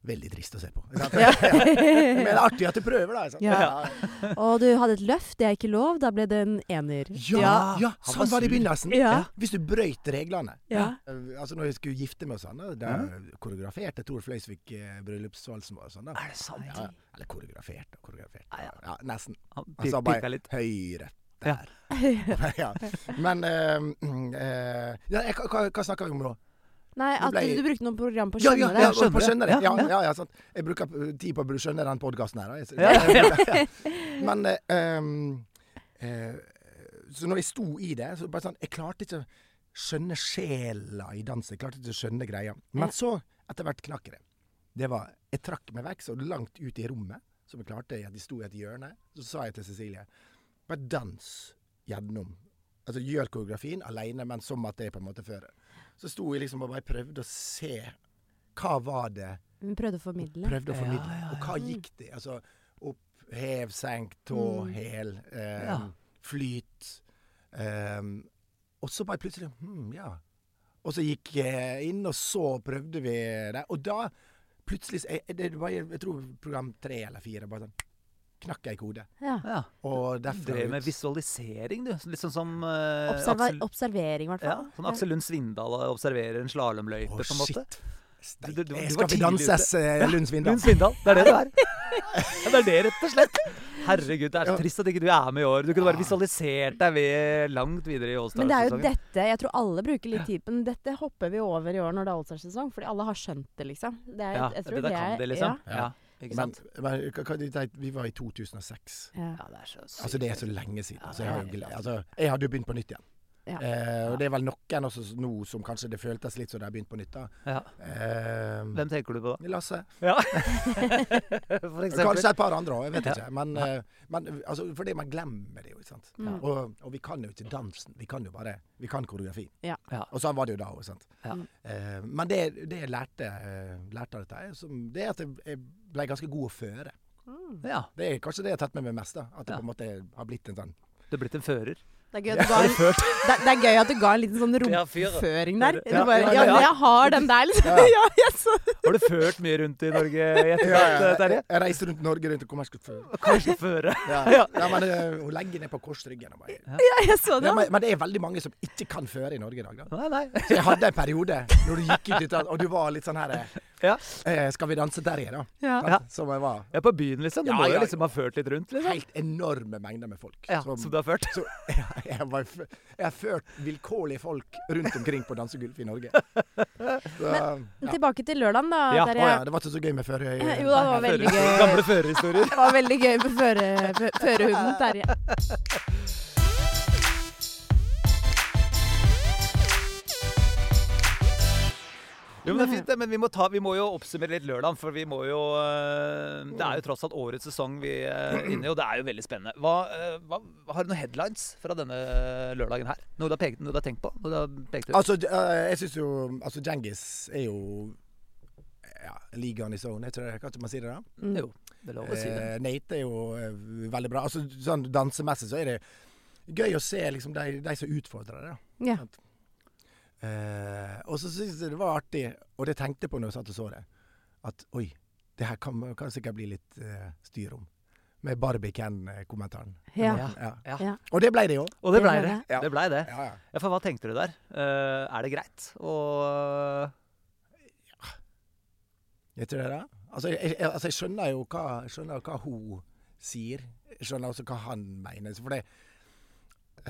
Speaker 4: veldig trist å se på.
Speaker 2: (laughs)
Speaker 4: Sant? (laughs) Men det er artig at du prøver, da. Sant?
Speaker 2: Ja. Og du hadde et løft, det er ikke lov. Da ble det en ener.
Speaker 4: Ja,
Speaker 1: Ja.
Speaker 4: ja,
Speaker 1: Han
Speaker 4: sånn
Speaker 1: var
Speaker 4: var det i
Speaker 1: sur.
Speaker 4: begynnelsen.
Speaker 2: Ja.
Speaker 4: Hvis du brøyt reglene.
Speaker 2: Ja.
Speaker 4: Eh, Altså når jeg skulle gifte meg og sånn, da- da koreograferte Tor Fløysvik eh, bryllupsvalsen vår og sånn. da.
Speaker 1: Er det sant? Ah,
Speaker 4: Ja, eller koreografert og koreografert.
Speaker 1: Ja, ja.
Speaker 4: Ja, nesten.
Speaker 1: Han
Speaker 4: Han sa
Speaker 1: pik-
Speaker 4: bare
Speaker 1: pikka litt.
Speaker 4: høyre.
Speaker 1: Ja.
Speaker 4: Der. (laughs) ja. Men eh, mm, eh, ja, jeg- hva, hva snakker vi om nå?
Speaker 2: Nei,
Speaker 4: Det
Speaker 2: at
Speaker 4: ble-
Speaker 2: du, du brukte noe program på å
Speaker 4: Ja,
Speaker 2: skjønne
Speaker 4: ja,
Speaker 2: det.
Speaker 4: ja, på- på
Speaker 1: skjønner
Speaker 4: skjønner
Speaker 1: det.
Speaker 4: det.
Speaker 1: Ja,
Speaker 4: Ja, ja, ja, sant. Jeg bruker eh, tid på å skjønne den podkasten her. da. Jeg,
Speaker 1: Ja,
Speaker 4: (laughs) Ja. Men eh, ehm, eh, Så når jeg sto i det, så bare sånn Jeg klarte ikke å skjønne sjela i dansen. Jeg klarte ikke å skjønne greia. Men så, etter hvert, knakk jeg det. Det var Jeg trakk meg vekk så langt ut i rommet som jeg klarte. at De sto i et hjørne. Så sa jeg til Cecilie Bare dans gjennom. Altså gjør koreografien aleine, men som at det er på en måte fører. Så sto jeg liksom og bare prøvde å se hva var det
Speaker 2: Hun prøvde å formidle.
Speaker 4: prøvde å
Speaker 1: Ja,
Speaker 4: formidle.
Speaker 1: ja,
Speaker 4: Og hva gikk det? Altså opp, hev, senk, tå, hæl, eh,
Speaker 1: Ja.
Speaker 4: flyt. ehm, og så bare plutselig hmm, Ja. Og så gikk jeg inn, og så prøvde vi det. Og da plutselig så- jeg, det var, jeg tror program tre eller fire bare sånn knakk jeg i hodet.
Speaker 2: Ja.
Speaker 1: Ja.
Speaker 4: Og
Speaker 1: Du
Speaker 4: derfra
Speaker 1: drev med
Speaker 4: ut-
Speaker 1: visualisering, du. Litt sånn som eh,
Speaker 2: Observa
Speaker 1: Aksel,
Speaker 2: observering, i hvert
Speaker 1: ja,
Speaker 2: fall.
Speaker 1: sånn Aksel Lund Svindal observerer en
Speaker 4: Å,
Speaker 1: slalåmløype, på en måte.
Speaker 4: shit.
Speaker 1: Du- du- du var
Speaker 4: Jeg skal vi
Speaker 1: tidlig ute.
Speaker 4: danses, eh, Lund Svindal?
Speaker 1: Lund Svindal, det er det du er. Ja, det er det, rett og slett. Herregud, det er så
Speaker 4: Ja.
Speaker 1: trist at ikke du er med i år. Du kunne bare
Speaker 4: Ja.
Speaker 1: visualisert deg ved langt videre i
Speaker 2: Men det er jo
Speaker 1: Allstar-sesongen.
Speaker 2: dette Jeg tror alle bruker litt tid på men dette hopper vi over i år når det er allsangssesong, fordi alle har skjønt det, liksom. Det er,
Speaker 1: Ja,
Speaker 2: jeg tror
Speaker 1: det, der kan
Speaker 2: er-
Speaker 1: det, liksom.
Speaker 4: ja.
Speaker 1: Ja, ikke
Speaker 4: Men,
Speaker 1: sant?
Speaker 4: men hva, hva, de tenkte- vi var i 2006.
Speaker 2: Ja.
Speaker 1: Ja, det er så sykt.
Speaker 4: Altså, det er så lenge siden.
Speaker 1: Ja,
Speaker 4: Altså, jeg, har jo
Speaker 1: det er
Speaker 4: gle- altså, jeg hadde jo begynt på nytt igjen.
Speaker 2: Ja.
Speaker 4: Eh, og det er vel noen også s- nå som kanskje det føltes litt som de har begynt på nytt. da.
Speaker 1: Ja.
Speaker 4: Eh,
Speaker 1: Hvem tenker du på da?
Speaker 4: Lasse.
Speaker 1: Ja. (laughs) For eksempel.
Speaker 4: Kanskje et par andre òg, jeg vet
Speaker 1: Ja.
Speaker 4: ikke. Men, eh, men altså, fordi man glemmer det jo. ikke sant?
Speaker 2: Mm.
Speaker 4: Og, og vi kan jo ikke dansen. Vi kan jo bare vi kan koreografien.
Speaker 2: Ja.
Speaker 1: Ja.
Speaker 4: Og sånn var det jo da òg.
Speaker 1: Ja.
Speaker 4: Eh, men det, det jeg lærte, eh, lærte av dette, er som, det er at jeg- jeg ble ganske god å føre.
Speaker 1: Ja,
Speaker 4: Det er kanskje det jeg har tatt med meg mest. da. At det
Speaker 1: Ja.
Speaker 4: på en måte har blitt en sånn
Speaker 1: du er blitt en fører.
Speaker 2: Det, er gøy at du ga en, det, det er gøy at du ga en liten sånn
Speaker 1: Ja, fyr.
Speaker 2: rumpeføring der.
Speaker 1: Ja,
Speaker 2: Du bare,
Speaker 1: ja,
Speaker 2: ja,
Speaker 1: ja.
Speaker 2: men jeg har den der, liksom.
Speaker 4: Ja.
Speaker 2: (laughs) Ja, jeg så
Speaker 1: Har du ført mye rundt i Norge
Speaker 4: (laughs)
Speaker 1: i etterkant, eh,
Speaker 4: ja, ja.
Speaker 1: Terje?
Speaker 4: Jeg reiser rundt Norge rundt og kommer ikke før.
Speaker 1: Kanskje føre.
Speaker 4: Ja.
Speaker 1: (laughs) Ja.
Speaker 4: Ja, men eh, hun legger ned på korsryggen. Og bare.
Speaker 2: Ja, jeg så det.
Speaker 4: Ja, men, men det er veldig mange som ikke kan føre i Norge i dag. Da.
Speaker 1: Nei, nei.
Speaker 4: Så jeg hadde en periode når du gikk ut i tatt, og du var litt sånn her eh,
Speaker 1: Ja.
Speaker 4: eh, Skal vi danse Terje, da?
Speaker 2: Ja.
Speaker 4: Sant?
Speaker 1: Ja.
Speaker 4: Som jeg var.
Speaker 1: Jeg er på byen, liksom. Du
Speaker 4: Ja,
Speaker 1: må jo
Speaker 4: ja, ja.
Speaker 1: liksom ha ført litt rundt, liksom.
Speaker 4: Helt enorme mengder med folk.
Speaker 1: Ja,
Speaker 4: som-
Speaker 1: som du har ført.
Speaker 4: så (laughs) jeg, jeg, var, f- jeg har ført vilkårlige folk rundt omkring på dansegulv i Norge. Så, ja.
Speaker 2: Tilbake til lørdagen, da,
Speaker 1: Ja,
Speaker 4: Å
Speaker 2: Terje.
Speaker 4: ja, det var ikke så gøy med før jeg
Speaker 2: Eh, (clears throat) Jo da, det var veldig gøy.
Speaker 1: Førerhistorier. Gamle førerhistorier.
Speaker 2: Det var veldig gøy med føre, fø- førerhunden Terje.
Speaker 1: Jo, men det er fint, det. Men vi må, ta, vi må jo oppsummere litt lørdagen, for vi må jo øh, Det er jo tross alt årets sesong vi er inne i, og det er jo veldig spennende. Hva, øh, hva, har du noen headlines fra denne lørdagen her? Noe du har, pekt, noe du har tenkt på? Noe du har pekt ut?
Speaker 4: Altså, d- eh, jeg syns jo Altså, Djengis er jo ja, ligaen i zone, jeg tror jeg, kan ikke man si det da?
Speaker 1: Mm. Jo. Det er lov å si det.
Speaker 4: Eh, Nate er jo eh, veldig bra. Altså, sånn Dansemessig så er det gøy å se liksom, de, de som utfordrer det. da.
Speaker 2: Ja.
Speaker 4: Eh, og så syns jeg det var artig, og det tenkte jeg på når jeg satt og så det, at oi, det her kan, kan sikkert bli litt eh, styr om. Med Barbie-Ken-kommentaren.
Speaker 2: ja.
Speaker 1: Ja.
Speaker 4: Ja.
Speaker 1: Ja.
Speaker 2: Ja.
Speaker 4: Og det ble det jo.
Speaker 1: Og det blei
Speaker 2: Det
Speaker 1: det.
Speaker 2: ble
Speaker 4: det.
Speaker 1: Det blei det.
Speaker 4: Ja, ja.
Speaker 1: Ja, for hva tenkte du der? Eh, er det greit? Og
Speaker 4: Jeg tror det da. Altså, jeg, jeg, altså, jeg skjønner jo hva, skjønner hva hun sier. Jeg skjønner også hva han mener. Så For det,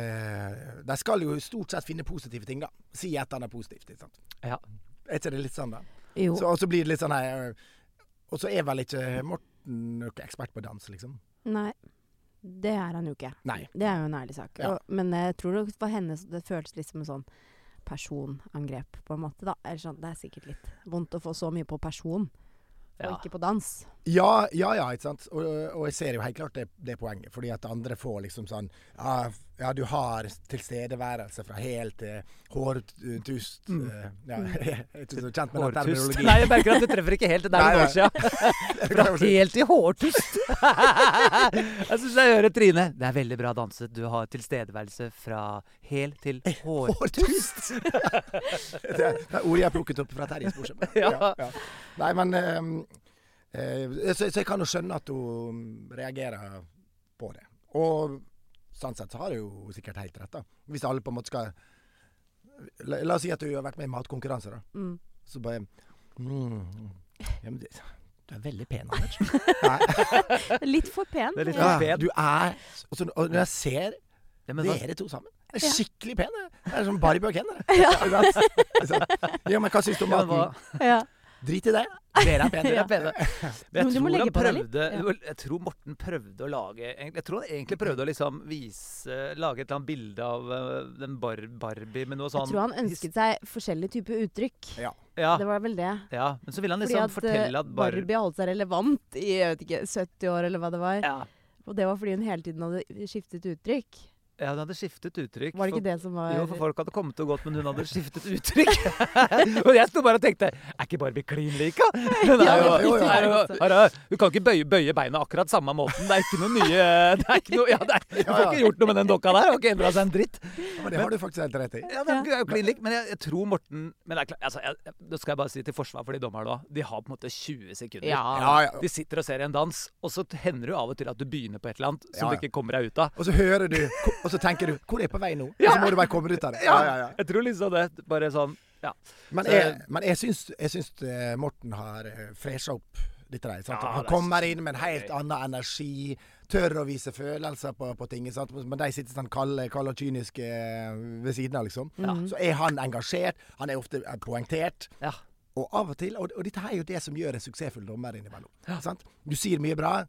Speaker 4: eh, de skal jo stort sett finne positive ting, da. Si et eller annet positivt. Ikke sant?
Speaker 1: Ja.
Speaker 4: Er ikke det litt sånn, da?
Speaker 2: Jo.
Speaker 4: Så, og så blir det litt sånn nei, eh, Og så er vel ikke Morten noen ekspert på dans, liksom.
Speaker 2: Nei. Det er han jo ikke.
Speaker 4: Nei.
Speaker 2: Det er jo en ærlig sak.
Speaker 4: Ja.
Speaker 2: Og, men jeg tror nok for henne så det føles litt som en sånn personangrep, på en måte. da. Eller sånn, det er sikkert litt vondt å få så mye på person,
Speaker 1: Ja.
Speaker 2: og ikke på dans.
Speaker 4: Ja, ja, ja, ikke sant. Og, og jeg ser jo helt klart det, det poenget. Fordi at andre får liksom sånn Ja, f- ja du har tilstedeværelse fra hæl til hårtust eh, Ja, (laughs) jeg er ikke så kjent med
Speaker 1: Mm.
Speaker 4: den
Speaker 1: Hårtust.
Speaker 4: terminologien.
Speaker 1: Nei, jeg merker at du treffer ikke helt. Det er
Speaker 4: Nei,
Speaker 1: noen
Speaker 4: nei.
Speaker 1: år siden.
Speaker 4: (laughs)
Speaker 1: Fra helt til (laughs) hårtust. Jeg syns jeg hører Trine. Det er veldig bra danset. Du har tilstedeværelse fra hel til hår.
Speaker 4: Hårtust! (laughs) det, er- det er ord jeg har plukket opp fra Terjes Borsheim.
Speaker 1: Ja.
Speaker 4: Nei, men eh, eh, så, så jeg kan jo skjønne at hun mm, reagerer på det. Og sånn sett så har hun jo sikkert helt rett, da. Hvis alle på en måte skal La, la oss si at du har vært med i matkonkurranser, da.
Speaker 2: Mm.
Speaker 4: Så bare mm, ja, men det, Du er veldig pen, Anders. Nei,
Speaker 2: Litt for
Speaker 1: (laughs)
Speaker 2: pen.
Speaker 1: Det er litt
Speaker 2: ja.
Speaker 1: for pen.
Speaker 4: du er og, så, og når jeg ser
Speaker 1: Ja, men hva-
Speaker 4: dere to sammen. Det
Speaker 2: Ja.
Speaker 4: er skikkelig pene. Det er som Barbie og Ken. det. Ikke sant? Ja, men hva syns du om
Speaker 1: Ja, men hva-
Speaker 4: maten?
Speaker 2: Ja.
Speaker 4: Drit i det. Dere er pene.
Speaker 1: Dere
Speaker 4: dere.
Speaker 1: er pene. Men
Speaker 2: Men
Speaker 1: jeg
Speaker 2: du må
Speaker 1: tror, han
Speaker 2: legge på deg
Speaker 1: prøvde,
Speaker 2: litt. Ja.
Speaker 1: jeg tror Morten prøvde å lage Jeg tror han egentlig prøvde å liksom vise Lage et eller annet bilde av eh, den bar Barbie med noe sånn
Speaker 2: Jeg tror han ønsket seg forskjellige typer uttrykk.
Speaker 4: Ja.
Speaker 1: ja,
Speaker 2: Det var vel det.
Speaker 1: ja, men så ville han
Speaker 2: Fordi
Speaker 1: liksom
Speaker 2: at,
Speaker 1: fortelle at
Speaker 2: eh,
Speaker 1: Barbie
Speaker 2: Barbie holdt seg relevant i jeg vet ikke, 70 år, eller hva det var.
Speaker 1: ja,
Speaker 2: Og det var fordi hun hele tiden hadde skiftet uttrykk.
Speaker 1: ja, hun hadde skiftet uttrykk.
Speaker 2: Var det
Speaker 1: for-
Speaker 2: ikke det som var
Speaker 1: Jo, for folk hadde kommet og gått, men hun (laughs) hadde skiftet uttrykk. og jeg sto bare og tenkte Er ikke Barbie klin lika? Hun, er jo,
Speaker 4: Ja, jo, jo.
Speaker 1: er jo, er, jo- hun kan ikke bøye, bøye beina akkurat samme måten. Det er ikke noe nye det er ikke noe, ja, det er, Hun får ikke gjort noe med den dokka der. Hun har ikke endra seg en dritt.
Speaker 4: Men det har du faktisk helt rett i.
Speaker 1: Ja, det er jo klin lik, men jeg, jeg tror Morten men det er klart, altså, jeg, jeg- Det skal jeg bare si til forsvar for de dommerne òg. De har på en måte 20 sekunder.
Speaker 4: Ja, ja.
Speaker 1: De sitter og ser en dans, og så hender det jo av og til at du begynner på et eller annet som
Speaker 4: Ja, ja.
Speaker 1: du ikke kommer deg ut av.
Speaker 4: Og så hører du, og så tenker du 'Hvor er jeg på vei nå?' Og så må du bare komme ut av det. Ja, ja, ja.
Speaker 1: Jeg tror liksom det. Bare sånn Ja.
Speaker 4: Men jeg, men jeg syns, jeg syns eh, Morten har eh, fresha opp litt der. Sant?
Speaker 1: Ja, det
Speaker 4: Han
Speaker 1: er
Speaker 4: kommer inn med en helt
Speaker 1: kjempegøy.
Speaker 4: annen energi. Tør å vise følelser på, på ting. Sant? Men de sitter sånn kalde kalde og kyniske eh, ved siden av, liksom. Så er han engasjert. Han er ofte eh, poengtert.
Speaker 1: ja.
Speaker 4: Og av og til, og, og dette er jo det som gjør en suksessfull dommer innimellom. Sant? Du sier mye bra,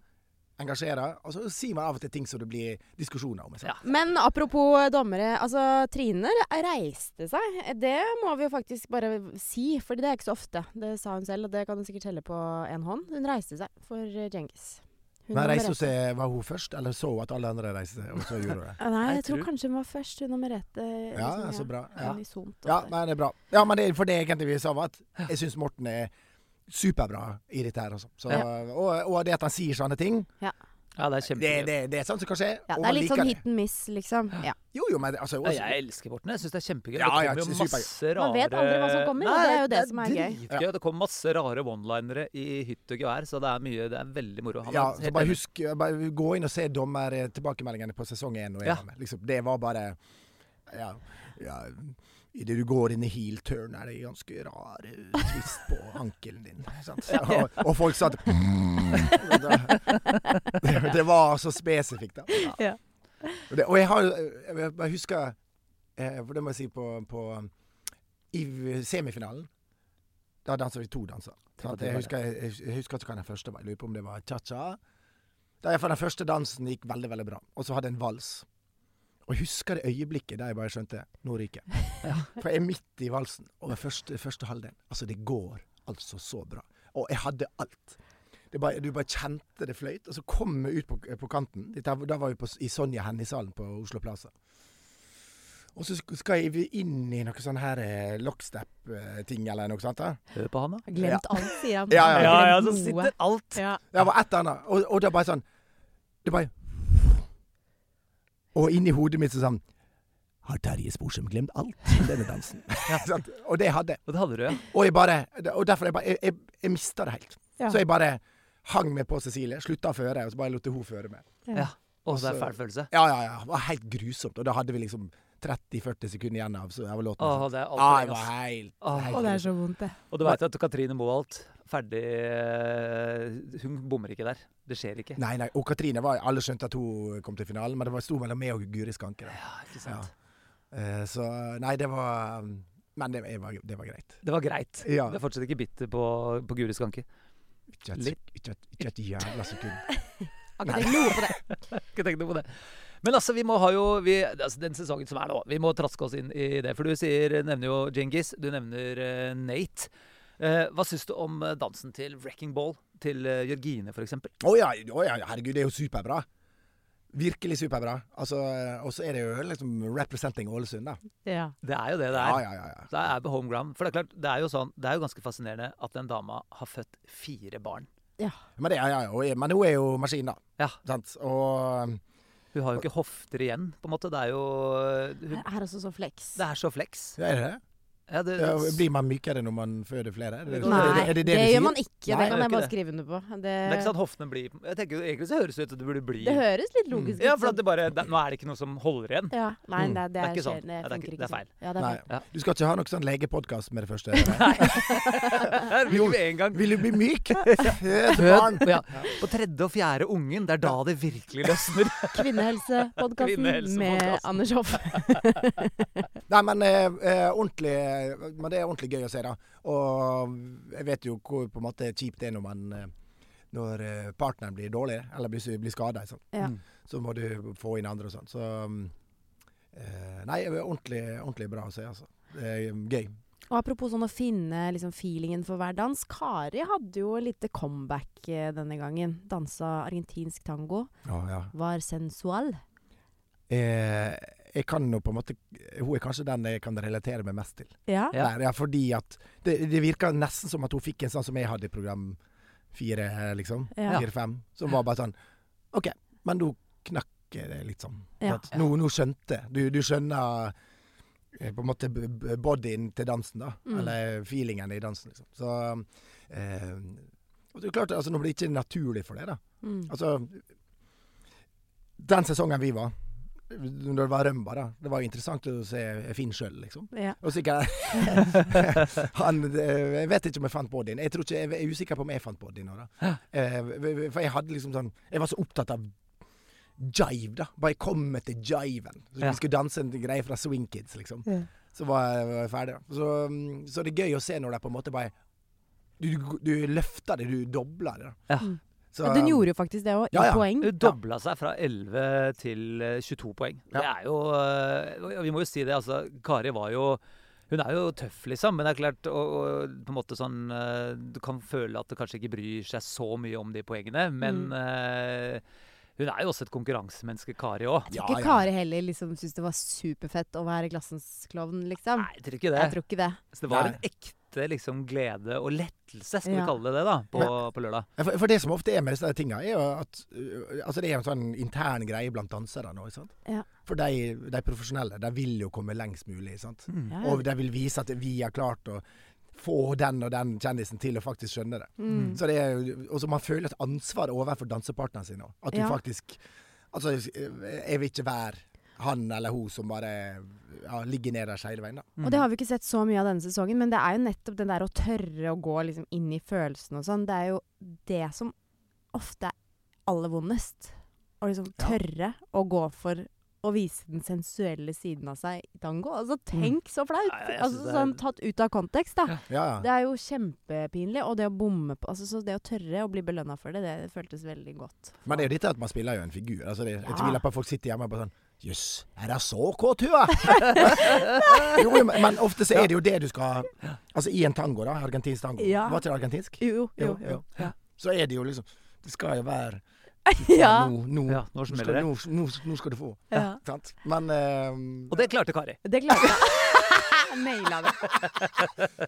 Speaker 4: engasjerer, og så sier man av og til ting som det blir diskusjoner om. sant?
Speaker 1: Ja.
Speaker 2: Men apropos eh, dommere. Altså, Trine re- reiste seg. Det må vi jo faktisk bare si, for det er ikke så ofte. Det sa hun selv, og det kan hun sikkert telle på én hånd. Hun reiste seg for eh, Djengis. Hun
Speaker 4: Men
Speaker 2: og
Speaker 4: reiste hun
Speaker 2: Merete.
Speaker 4: seg, var hun først, eller så hun at alle andre reiste seg, og så gjorde
Speaker 2: (laughs)
Speaker 4: hun det?
Speaker 2: Ah, Nei,
Speaker 1: Jeg
Speaker 2: jeg tror
Speaker 1: tror-
Speaker 2: kanskje hun var først. Hun eh, og Merete.
Speaker 4: Ja,
Speaker 2: liksom,
Speaker 4: så bra. Ja.
Speaker 2: Unisont.
Speaker 4: Ja,
Speaker 2: ofte.
Speaker 4: nei, det er bra. Ja, men det er for det egentlig vi sa, var at jeg syns Morten er superbra i dette her, altså. Så, og, og det at han sier sånne ting,
Speaker 1: ja, det er
Speaker 4: det,
Speaker 1: kjempegøy.
Speaker 4: det, det er sånt som kan skje,
Speaker 2: ja,
Speaker 4: og
Speaker 2: det er
Speaker 4: man
Speaker 2: litt sånn
Speaker 4: liker det.
Speaker 2: hit and miss, liksom. Ja.
Speaker 4: Jo, jo, men det- altså
Speaker 1: Ja,
Speaker 4: også,
Speaker 1: jeg elsker Morten. Jeg syns det er kjempegøy.
Speaker 4: Ja, ja,
Speaker 1: det kommer jo
Speaker 4: supergøy.
Speaker 1: masse rare
Speaker 2: Man vet aldri hva som kommer, og det er jo det som er gøy.
Speaker 1: dritgøy. Det kommer masse rare one-linere i hytt og gevær, så det er mye Det er veldig moro. Han er
Speaker 4: Ja,
Speaker 1: helt
Speaker 4: så bare
Speaker 1: enig.
Speaker 4: husk bare Gå inn og se dommertilbakemeldingene på sesong én. og én.
Speaker 1: Ja.
Speaker 4: Liksom, det var bare Ja. ja Idet du går inn i heel turn, er det ganske rar eh, twist
Speaker 1: (laughs)
Speaker 4: på ankelen din. Sant? Og, og folk satt det, (laughs) det var så spesifikt, da.
Speaker 2: Ja.
Speaker 4: Og, det, og jeg har Jeg bare husker eh, For det må jeg si på, på um, I semifinalen Da dansa vi to danser. Sant? Jeg husker, jeg, jeg husker ikke hva den første var. Jeg lurer på om det var cha-cha. Da jeg for Den første dansen gikk veldig veldig bra. Og så hadde jeg en vals. Og jeg husker det øyeblikket der jeg bare skjønte nå ryker jeg. For jeg er midt i valsen. Og den første, første halvdelen. Altså, det går altså så bra. Og jeg hadde alt. Det bare, du bare kjente det fløyt. Og så kom vi ut på, på kanten. Dette, da var vi på, i Sonja Hennie-salen på Oslo Plaza. Og så sk- skal jeg inn i noe sånn her eh, lockstep-ting eller noe sånt. da.
Speaker 1: Hør på han, da.
Speaker 2: Jeg har glemt alt, sier han.
Speaker 4: Ja, ja.
Speaker 1: Ja, ja,
Speaker 2: Glemt
Speaker 1: så
Speaker 2: noe.
Speaker 1: sitter alt.
Speaker 2: ja.
Speaker 4: Det var et eller annet. Og, og det bare sånn Det bare Og inni hodet mitt så sånn Har Terje Sporsem glemt alt om denne dansen? (laughs) Sant? og det hadde jeg.
Speaker 1: Og det hadde du, ja.
Speaker 4: Og jeg bare Og derfor jeg bare Jeg, jeg, jeg mista det helt.
Speaker 2: Ja.
Speaker 4: Så jeg bare hang med på Cecilie. Slutta å føre, og så bare lot jeg hun føre meg.
Speaker 1: ja. Og det er
Speaker 4: Altså-
Speaker 1: fæl følelse.
Speaker 4: Ja, ja, ja. Det var helt grusomt. Og da hadde vi liksom 30-40 sekunder igjen av, så av låten.
Speaker 1: Åh, det er
Speaker 4: ja,
Speaker 1: altfor
Speaker 4: jeg
Speaker 1: lenge.
Speaker 4: var
Speaker 1: ass.
Speaker 4: helt,
Speaker 1: Åh.
Speaker 4: helt
Speaker 2: Å, det er så vondt, det.
Speaker 1: Og du veit at Katrine Moholt, ferdig eh, Hun bommer ikke der. Det skjer ikke.
Speaker 4: Nei, nei. Og Katrine var Alle skjønte at hun kom til finalen, men det var sto mellom meg og Guri Skanke. da.
Speaker 1: Ja, ikke sant.
Speaker 4: Eh, så nei, det var um, Men det, jeg var, det var greit.
Speaker 1: Det var greit.
Speaker 4: Ja.
Speaker 1: Du er fortsatt ikke bitter på, på Guri Skanke.
Speaker 4: Ikke et,
Speaker 1: Litt.
Speaker 4: sek- ikke et, ikke et jævla sekund.
Speaker 2: Har ikke tenkt noe på det.
Speaker 1: Ikke tenk noe på det. Men altså, vi må ha jo vi, altså, Den sesongen som er nå, vi må traske oss inn i det. For du sier, nevner jo Djengis, du nevner eh, Nate. Eh, hva syns du om eh, dansen til Wrecking Ball til eh, Jørgine, for eksempel?
Speaker 4: Å ja, å ja, herregud, det er jo superbra. Virkelig superbra. Altså, og så er det jo liksom representing Ålesund, da.
Speaker 2: Ja.
Speaker 1: Det er jo det det
Speaker 4: Ja,
Speaker 1: er.
Speaker 4: ja, ja. ja.
Speaker 1: Det er på home ground. For det er klart, det er jo sånn, det er jo ganske fascinerende at den dama har født fire barn.
Speaker 4: Men, det, ja, ja, og, jeg- men hun er jo maskin, da.
Speaker 1: Ja,
Speaker 4: Sant? Og um,
Speaker 1: Hun har jo ikke hofter igjen, på en måte. Det er jo eh, hun,
Speaker 2: Her er også så flex.
Speaker 1: Det er så flex.
Speaker 4: ja, er det det?
Speaker 1: Ja, det,
Speaker 4: Ja, blir man mykere når man føder flere? Er det-
Speaker 1: Nei,
Speaker 4: er det- er det, det, du sier?
Speaker 2: gjør man ikke. det
Speaker 4: Nei,
Speaker 2: kan
Speaker 1: det er
Speaker 2: jeg
Speaker 1: ikke
Speaker 2: bare
Speaker 1: det.
Speaker 2: skrive under på. Det,
Speaker 1: det er ikke sånn at hoftene blir Jeg tenker jo Egentlig så høres det ut som det burde bli
Speaker 2: det høres litt logisk ut.
Speaker 1: Mm. Ja, for at
Speaker 2: sånn.
Speaker 1: det bare det, Nå er det ikke noe som holder igjen.
Speaker 2: ja. Nei,
Speaker 4: Mm.
Speaker 2: det, det,
Speaker 1: Det er ikke
Speaker 2: skjer-
Speaker 1: sånn. Ja, det er
Speaker 2: funker
Speaker 1: ikke- det er
Speaker 2: sånn.
Speaker 1: feil.
Speaker 2: Ja, det er
Speaker 4: Nei.
Speaker 2: (laughs) feil.
Speaker 1: Ja.
Speaker 4: Du skal ikke ha noen sånn legepodkast med det (laughs) første?
Speaker 2: (laughs)
Speaker 1: Det blir med en gang.
Speaker 4: Vil du bli myk? Fød barn!
Speaker 1: Ja. På tredje og fjerde ungen, det er da det virkelig løsner.
Speaker 2: Kvinnehelsepodkasten med
Speaker 1: Kvinnehelsepodkasten.
Speaker 2: Anders Hoff.
Speaker 1: (laughs)
Speaker 4: Nei, men, eh, eh, ordentlig, men det er ordentlig gøy å se, da. Og jeg vet jo hvor på en måte kjipt det er når man eh, når eh, partneren blir dårlig, eller blir, sy- blir skada, sånn.
Speaker 2: Ja.
Speaker 1: Mm.
Speaker 4: så må du få inn andre og sånn. Så mm, eh, Nei, det er ordentlig, ordentlig bra å se, altså. Det er gøy.
Speaker 2: Og apropos sånn å finne liksom, feelingen for hver dans. Kari hadde jo et lite comeback eh, denne gangen. Dansa argentinsk tango. Var sensual.
Speaker 4: Eh, jeg kan jo på en måte Hun er kanskje den jeg kan relatere meg mest til.
Speaker 2: Ja.
Speaker 1: Ja.
Speaker 4: Der, ja, fordi at det, det virka nesten som at hun fikk en sånn som jeg hadde i program fire, eh, liksom.
Speaker 2: Ja.
Speaker 4: Fire-fem. Som var bare sånn OK, men nå knakk det litt sånn.
Speaker 2: Ja.
Speaker 4: At Nå, nå skjønte jeg. Du, du skjønner eh, på en måte b- b- bodyen til dansen, da.
Speaker 2: Mm.
Speaker 4: Eller feelingen i dansen, liksom. Så eh, og det er klart, altså, Nå blir det ikke naturlig for deg, da.
Speaker 2: Mm.
Speaker 4: Altså Den sesongen vi var, når det var rømba, da. Det var jo interessant å se Finn sjøl, liksom.
Speaker 2: ja.
Speaker 4: Og
Speaker 1: (laughs)
Speaker 4: sikkert han, eh, Jeg vet ikke om jeg fant bodyen. Jeg, tror ikke, jeg er usikker på om jeg fant bodyen. nå, Da. Eh, For jeg hadde liksom sånn Jeg var så opptatt av jive, da. Bare jeg kom med til jiven. Så
Speaker 1: Ja.
Speaker 4: Vi skulle danse en greie fra Swing Kids, liksom.
Speaker 2: Ja.
Speaker 4: Så var jeg, var jeg ferdig. da. Så, mm, så det er gøy å se når det er på en måte bare Du, du, du løfter det, du dobler det. da.
Speaker 1: Ja.
Speaker 2: Mm.
Speaker 4: Så,
Speaker 2: Ja, Hun gjorde jo faktisk det òg, i
Speaker 4: Ja, ja.
Speaker 2: poeng.
Speaker 1: (laughs) Hun dobla seg fra 11 til eh, 22 poeng. Det
Speaker 4: Ja.
Speaker 1: er jo eh, og Vi må jo si det, altså. Kari var jo hun er jo tøff, liksom, men det er klart og, og på en måte sånn, eh, Du kan føle at du kanskje ikke bryr seg så mye om de poengene,
Speaker 2: Mm.
Speaker 1: men eh, hun er jo også et konkurransemenneske, Kari òg.
Speaker 2: Jeg
Speaker 4: Ja,
Speaker 2: tror ikke
Speaker 4: ja.
Speaker 2: Kari heller liksom syntes det var superfett å være klassens klovn, liksom.
Speaker 1: Nei, jeg tror ikke det.
Speaker 2: Jeg tror ikke det.
Speaker 1: Så det var
Speaker 4: Nei.
Speaker 1: en ekte liksom, glede og lettelse, skal
Speaker 2: Ja.
Speaker 1: vi kalle det det, da, på, på lørdag.
Speaker 4: Ja, For, for det som ofte er med disse tinga, er jo at øh, altså det er en sånn intern greie blant dansere nå. ikke sant?
Speaker 2: Ja.
Speaker 4: For de, de profesjonelle de vil jo komme lengst mulig. sant?
Speaker 2: Ja, ja.
Speaker 4: Og de vil vise at vi har klart å få den og den kjendisen til å faktisk skjønne det.
Speaker 2: Mm.
Speaker 4: Så det er, jo- og så man føler et ansvar overfor dansepartneren sin òg. At du
Speaker 2: Ja.
Speaker 4: faktisk Altså, jeg vil ikke være han eller hun som bare ja, ligger nederst hele veien, da.
Speaker 1: Mm.
Speaker 2: Og det har vi ikke sett så mye av denne sesongen, men det er jo nettopp den der å tørre å gå liksom inn i følelsene og sånn. Det er jo det som ofte er aller vondest. Å liksom
Speaker 4: Ja.
Speaker 2: tørre å gå for å vise den sensuelle siden av seg i tango. Altså, tenk så flaut!
Speaker 1: Ja, ja, jeg
Speaker 2: altså,
Speaker 1: synes det er-
Speaker 2: sånn tatt ut av kontekst, da.
Speaker 4: Ja, ja.
Speaker 2: Det er jo kjempepinlig. Og det å bomme på Altså, så det å tørre å bli belønna for det, det føltes veldig godt.
Speaker 4: Men det er jo dette at man spiller jo en figur. Altså det, jeg
Speaker 2: Ja.
Speaker 4: tviler på at folk sitter hjemme og bare sånn Jøss, er det så kåt
Speaker 2: (laughs)
Speaker 4: hun er? jo, jo, men men ofte så er det jo det du skal Altså i en tango, da. Argentinsk tango.
Speaker 2: Ja.
Speaker 4: Var ikke det argentinsk?
Speaker 2: Jo, jo, jo.
Speaker 4: Jo, jo.
Speaker 2: Ja.
Speaker 4: Så er det jo liksom Det skal jo være
Speaker 2: Ja.
Speaker 4: (laughs) Nå, nå,
Speaker 1: Ja, nå
Speaker 4: nå,
Speaker 1: smeller
Speaker 4: skal,
Speaker 1: det.
Speaker 4: nå, nå, nå skal du få.
Speaker 2: ja.
Speaker 4: Sant? Men eh,
Speaker 1: Og det klarte Kari.
Speaker 2: Det klarte jeg. Naila det.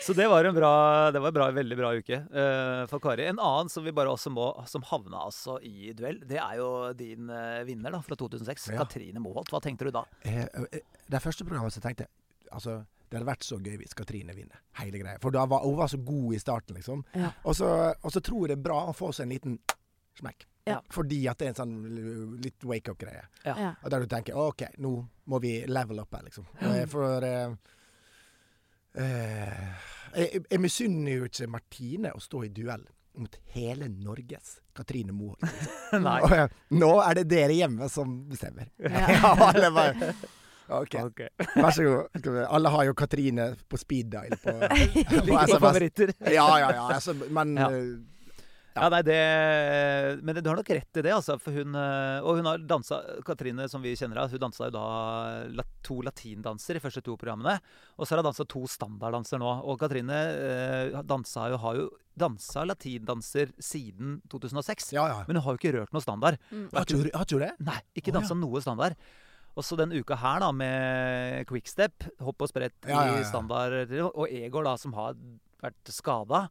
Speaker 1: Så det var en bra, det var en bra, veldig bra uke eh, for Kari. En annen som vi bare også må, som havna altså i duell, det er jo din eh, vinner da, fra 2006.
Speaker 4: Ja.
Speaker 1: Katrine Moholt. Hva tenkte du
Speaker 4: (laughs)
Speaker 1: da?
Speaker 4: eh, eh, det første programmet så tenkte jeg Altså, det hadde vært så gøy hvis Katrine vinner hele greia. For da var, hun var så god i starten, liksom.
Speaker 2: Ja.
Speaker 4: Og, så, og så tror jeg det er bra å få seg en liten smekk.
Speaker 2: Ja.
Speaker 4: Fordi at det er en sånn litt wake-up-greie.
Speaker 2: Ja.
Speaker 4: Og Der du tenker OK, nå må vi level up her, liksom. Eh, For eh, eh, Jeg, jeg misunner jo ikke Martine å stå i duell mot hele Norges Katrine Moholt.
Speaker 1: Nei. (laughs)
Speaker 4: Og, eh, Nå er det dere hjemme som bestemmer.
Speaker 2: Ja.
Speaker 4: (laughs) Ja, alle bare OK,
Speaker 1: Ok.
Speaker 4: vær så god. Skal vi- Alle har jo Katrine på speed dial
Speaker 1: (laughs)
Speaker 4: på, på
Speaker 1: Like på
Speaker 4: SMS.
Speaker 1: favoritter.
Speaker 4: Ja, ja, ja. Altså, men
Speaker 1: Ja.
Speaker 4: eh,
Speaker 1: Ja, nei, det, men du har nok rett i det, altså. For hun, eh, og hun har dansa Katrine, som vi kjenner henne, hun dansa jo da la- to latindanser i første to programmene. Og så har hun dansa to standarddanser nå. Og Katrine eh, dansa jo, har jo dansa latindanser siden 2006.
Speaker 4: ja, ja.
Speaker 1: Men hun har jo ikke rørt noe standard.
Speaker 2: Mm.
Speaker 4: Har ikke du- har ikke du det?
Speaker 1: Nei, ikke
Speaker 4: Å, ja.
Speaker 1: dansa noe standard. Og så den uka her, da, med quickstep, hopp og sprett
Speaker 4: Ja, ja, ja.
Speaker 1: i standard, og Egor, da, som har vært skada.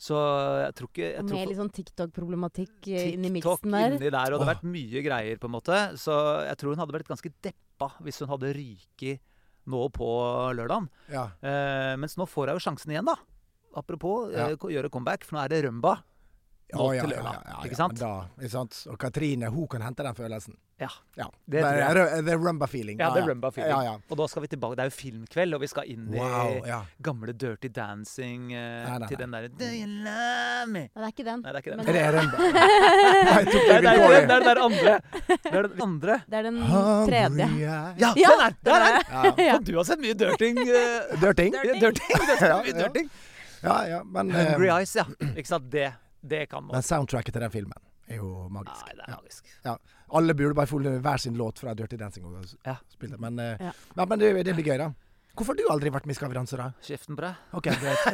Speaker 1: Så jeg tror ikke jeg
Speaker 2: Og
Speaker 1: tror
Speaker 2: Med litt sånn TikTok-problematikk eh, inni
Speaker 1: TikTok
Speaker 2: miksen der.
Speaker 1: inni der, og det har
Speaker 4: Åh.
Speaker 1: vært mye greier, på en måte. Så jeg tror hun hadde blitt ganske deppa hvis hun hadde ryket nå på lørdagen.
Speaker 4: Ja.
Speaker 1: Eh, mens nå får hun jo sjansen igjen, da. Apropos
Speaker 4: Ja.
Speaker 1: eh, ko- gjøre comeback, for nå er det rømba.
Speaker 4: Ja,
Speaker 1: Nå
Speaker 4: ja,
Speaker 1: til
Speaker 4: ja,
Speaker 1: lørdag,
Speaker 4: ja, ja,
Speaker 1: ikke sant?
Speaker 4: men Da, ikke sant? Og Katrine, hun kan hente den følelsen.
Speaker 1: Ja.
Speaker 4: Ja.
Speaker 1: Det tror jeg.
Speaker 4: er- det er rumba-feeling.
Speaker 1: Ja, det er rumba-feeling.
Speaker 4: Ja, ja.
Speaker 1: Og da skal vi tilbake. Det er jo filmkveld, og vi skal inn
Speaker 4: Wow,
Speaker 1: i
Speaker 4: ja.
Speaker 1: gamle Dirty Dancing eh,
Speaker 4: Nei, nei,
Speaker 1: til
Speaker 4: nei.
Speaker 1: den derre Do you love me?
Speaker 2: Nei, det er ikke den.
Speaker 1: Nei, det er ikke den.
Speaker 2: Men
Speaker 1: (laughs)
Speaker 4: Er det rumba? Nei, tok
Speaker 1: Det
Speaker 4: jeg
Speaker 1: er det, er-
Speaker 4: litt
Speaker 1: det
Speaker 4: dårlig.
Speaker 1: er den der andre. Det er den andre.
Speaker 2: det er den
Speaker 4: Hungry
Speaker 2: tredje.
Speaker 4: eyes.
Speaker 1: Ja,
Speaker 2: Ja,
Speaker 1: den er
Speaker 2: den
Speaker 1: der!
Speaker 2: er
Speaker 1: er den.
Speaker 4: Ja.
Speaker 2: Ja.
Speaker 1: Og du har sett mye dirting. eh,
Speaker 4: Dirting?
Speaker 1: ja, (laughs) dirting. Du har
Speaker 4: Ja,
Speaker 1: sett mye
Speaker 4: ja.
Speaker 1: dirting.
Speaker 4: Ja, ja, men,
Speaker 1: (laughs)
Speaker 4: eh,
Speaker 1: Hungry Eyes, ja. (clears throat) Ikke sant? Det, det kan man.
Speaker 4: men soundtracket til den filmen er jo magisk.
Speaker 1: Nei, det er
Speaker 4: Ja.
Speaker 1: magisk.
Speaker 4: Ja. Alle burde bare funnet hver sin låt fra Dirty Dancing og s-
Speaker 1: Ja.
Speaker 4: spille det. Men, eh,
Speaker 2: Ja.
Speaker 4: ja, men det, det blir gøy, da. Hvorfor har du aldri vært med i Skal vi danse, da?
Speaker 1: Kjeften på deg. (laughs)
Speaker 4: Ok, greit.
Speaker 2: (laughs)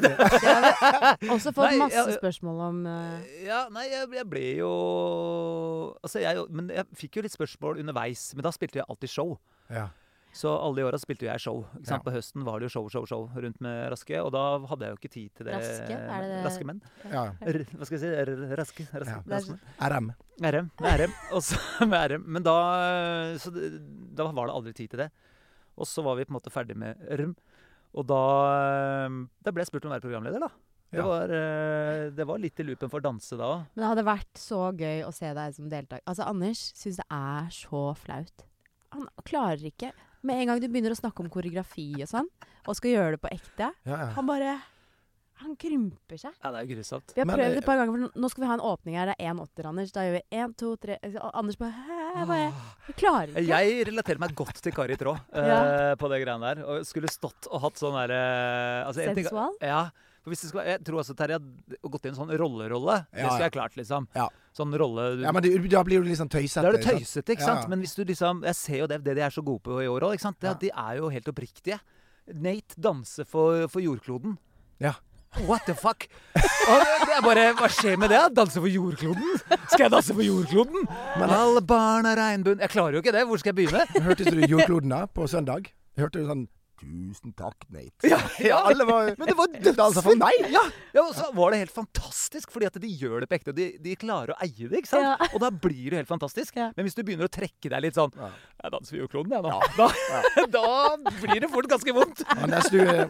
Speaker 2: Også fått
Speaker 1: Nei,
Speaker 2: masse
Speaker 1: ja, ja.
Speaker 2: spørsmål om eh,
Speaker 1: Ja, nei, jeg, jeg ble jo Altså, jeg Men jeg fikk jo litt spørsmål underveis. Men da spilte jeg alltid show.
Speaker 4: Ja.
Speaker 1: Så alle de åra spilte jo jeg show. Ikke sant?
Speaker 4: Ja.
Speaker 1: På høsten var det jo show, show, show rundt med Raske. Og da hadde jeg jo ikke tid til det.
Speaker 2: Raske? Er det det-
Speaker 1: Raske menn.
Speaker 4: Ja.
Speaker 1: R hva skal jeg si? R raske, raske,
Speaker 4: Ja.
Speaker 1: raske menn.
Speaker 4: RM.
Speaker 1: RM. Med RM. Og så (laughs) med RM. Men da, eh, så det, da var det aldri tid til det. Og så var vi på en måte ferdig med RM. Og da, eh, da ble jeg spurt om å være programleder, da. Det,
Speaker 4: Ja.
Speaker 1: var, eh, det var litt i loopen for å danse da òg.
Speaker 2: Men det hadde vært så gøy å se deg som deltaker. Altså, Anders syns det er så flaut. Han klarer ikke. Med en gang du begynner å snakke om koreografi og sånn, og skal gjøre det på ekte,
Speaker 4: Ja, ja.
Speaker 2: han bare Han krymper seg.
Speaker 1: Ja, det er jo grusomt.
Speaker 2: Vi har
Speaker 4: Men,
Speaker 2: prøvd
Speaker 4: eh,
Speaker 2: et par ganger, for nå- nå skal vi ha en åpning her. Det er 1,80, Anders. Da gjør vi 1, 2, 3 Anders bare Hæ? Jeg bare Jeg klarer ikke.
Speaker 1: Ah. Eh, Jeg relaterer meg godt til Kari Traa eh,
Speaker 2: Ja.
Speaker 1: på det greiene der. Og skulle stått og hatt sånn derre eh, altså, en ting-
Speaker 2: Sensual?
Speaker 1: Ja. For hvis det skal, jeg tror også Terje hadde gått i en sånn rollerolle. Det
Speaker 4: Ja,
Speaker 1: skulle
Speaker 4: ja.
Speaker 1: jeg klart, liksom.
Speaker 4: Ja.
Speaker 1: Sånn rolle du
Speaker 4: ja, men det, da blir du litt sånn tøysete.
Speaker 1: Da er det
Speaker 4: ikke sant?
Speaker 1: tøysete, ikke
Speaker 4: Ja,
Speaker 1: sant?
Speaker 4: ja.
Speaker 1: Men hvis du liksom Jeg ser jo det, det de er så gode på i år òg, ikke sant? Det,
Speaker 4: Ja.
Speaker 1: at De er jo helt oppriktige. Nate danser for, for jordkloden.
Speaker 4: Ja.
Speaker 1: What the fuck? Og det er bare, Hva skjer med det? da? Danse for jordkloden? Skal jeg danse for jordkloden? Alle barn har regnbuen Jeg klarer jo ikke det. Hvor skal jeg begynne?
Speaker 4: Hørtes du jordkloden da, på søndag? Hørte du sånn Tusen takk, Nate.
Speaker 1: (laughs) Ja,
Speaker 4: (laughs) Ja,
Speaker 1: ja.
Speaker 4: alle var
Speaker 1: Men det
Speaker 4: (laughs)
Speaker 1: var
Speaker 4: Det var altså for meg!
Speaker 1: Ja, ja, og så var det helt fantastisk, fordi at de gjør det på ekte. og De, de klarer å eie det, ikke sant?
Speaker 2: Ja.
Speaker 1: Og da blir det helt fantastisk.
Speaker 2: Ja.
Speaker 1: Men hvis du begynner å trekke deg litt sånn
Speaker 4: Ja.
Speaker 1: Jeg danser for jordkloden, jeg nå. (laughs) Da, da blir det fort ganske vondt.
Speaker 4: Anders, du, eh,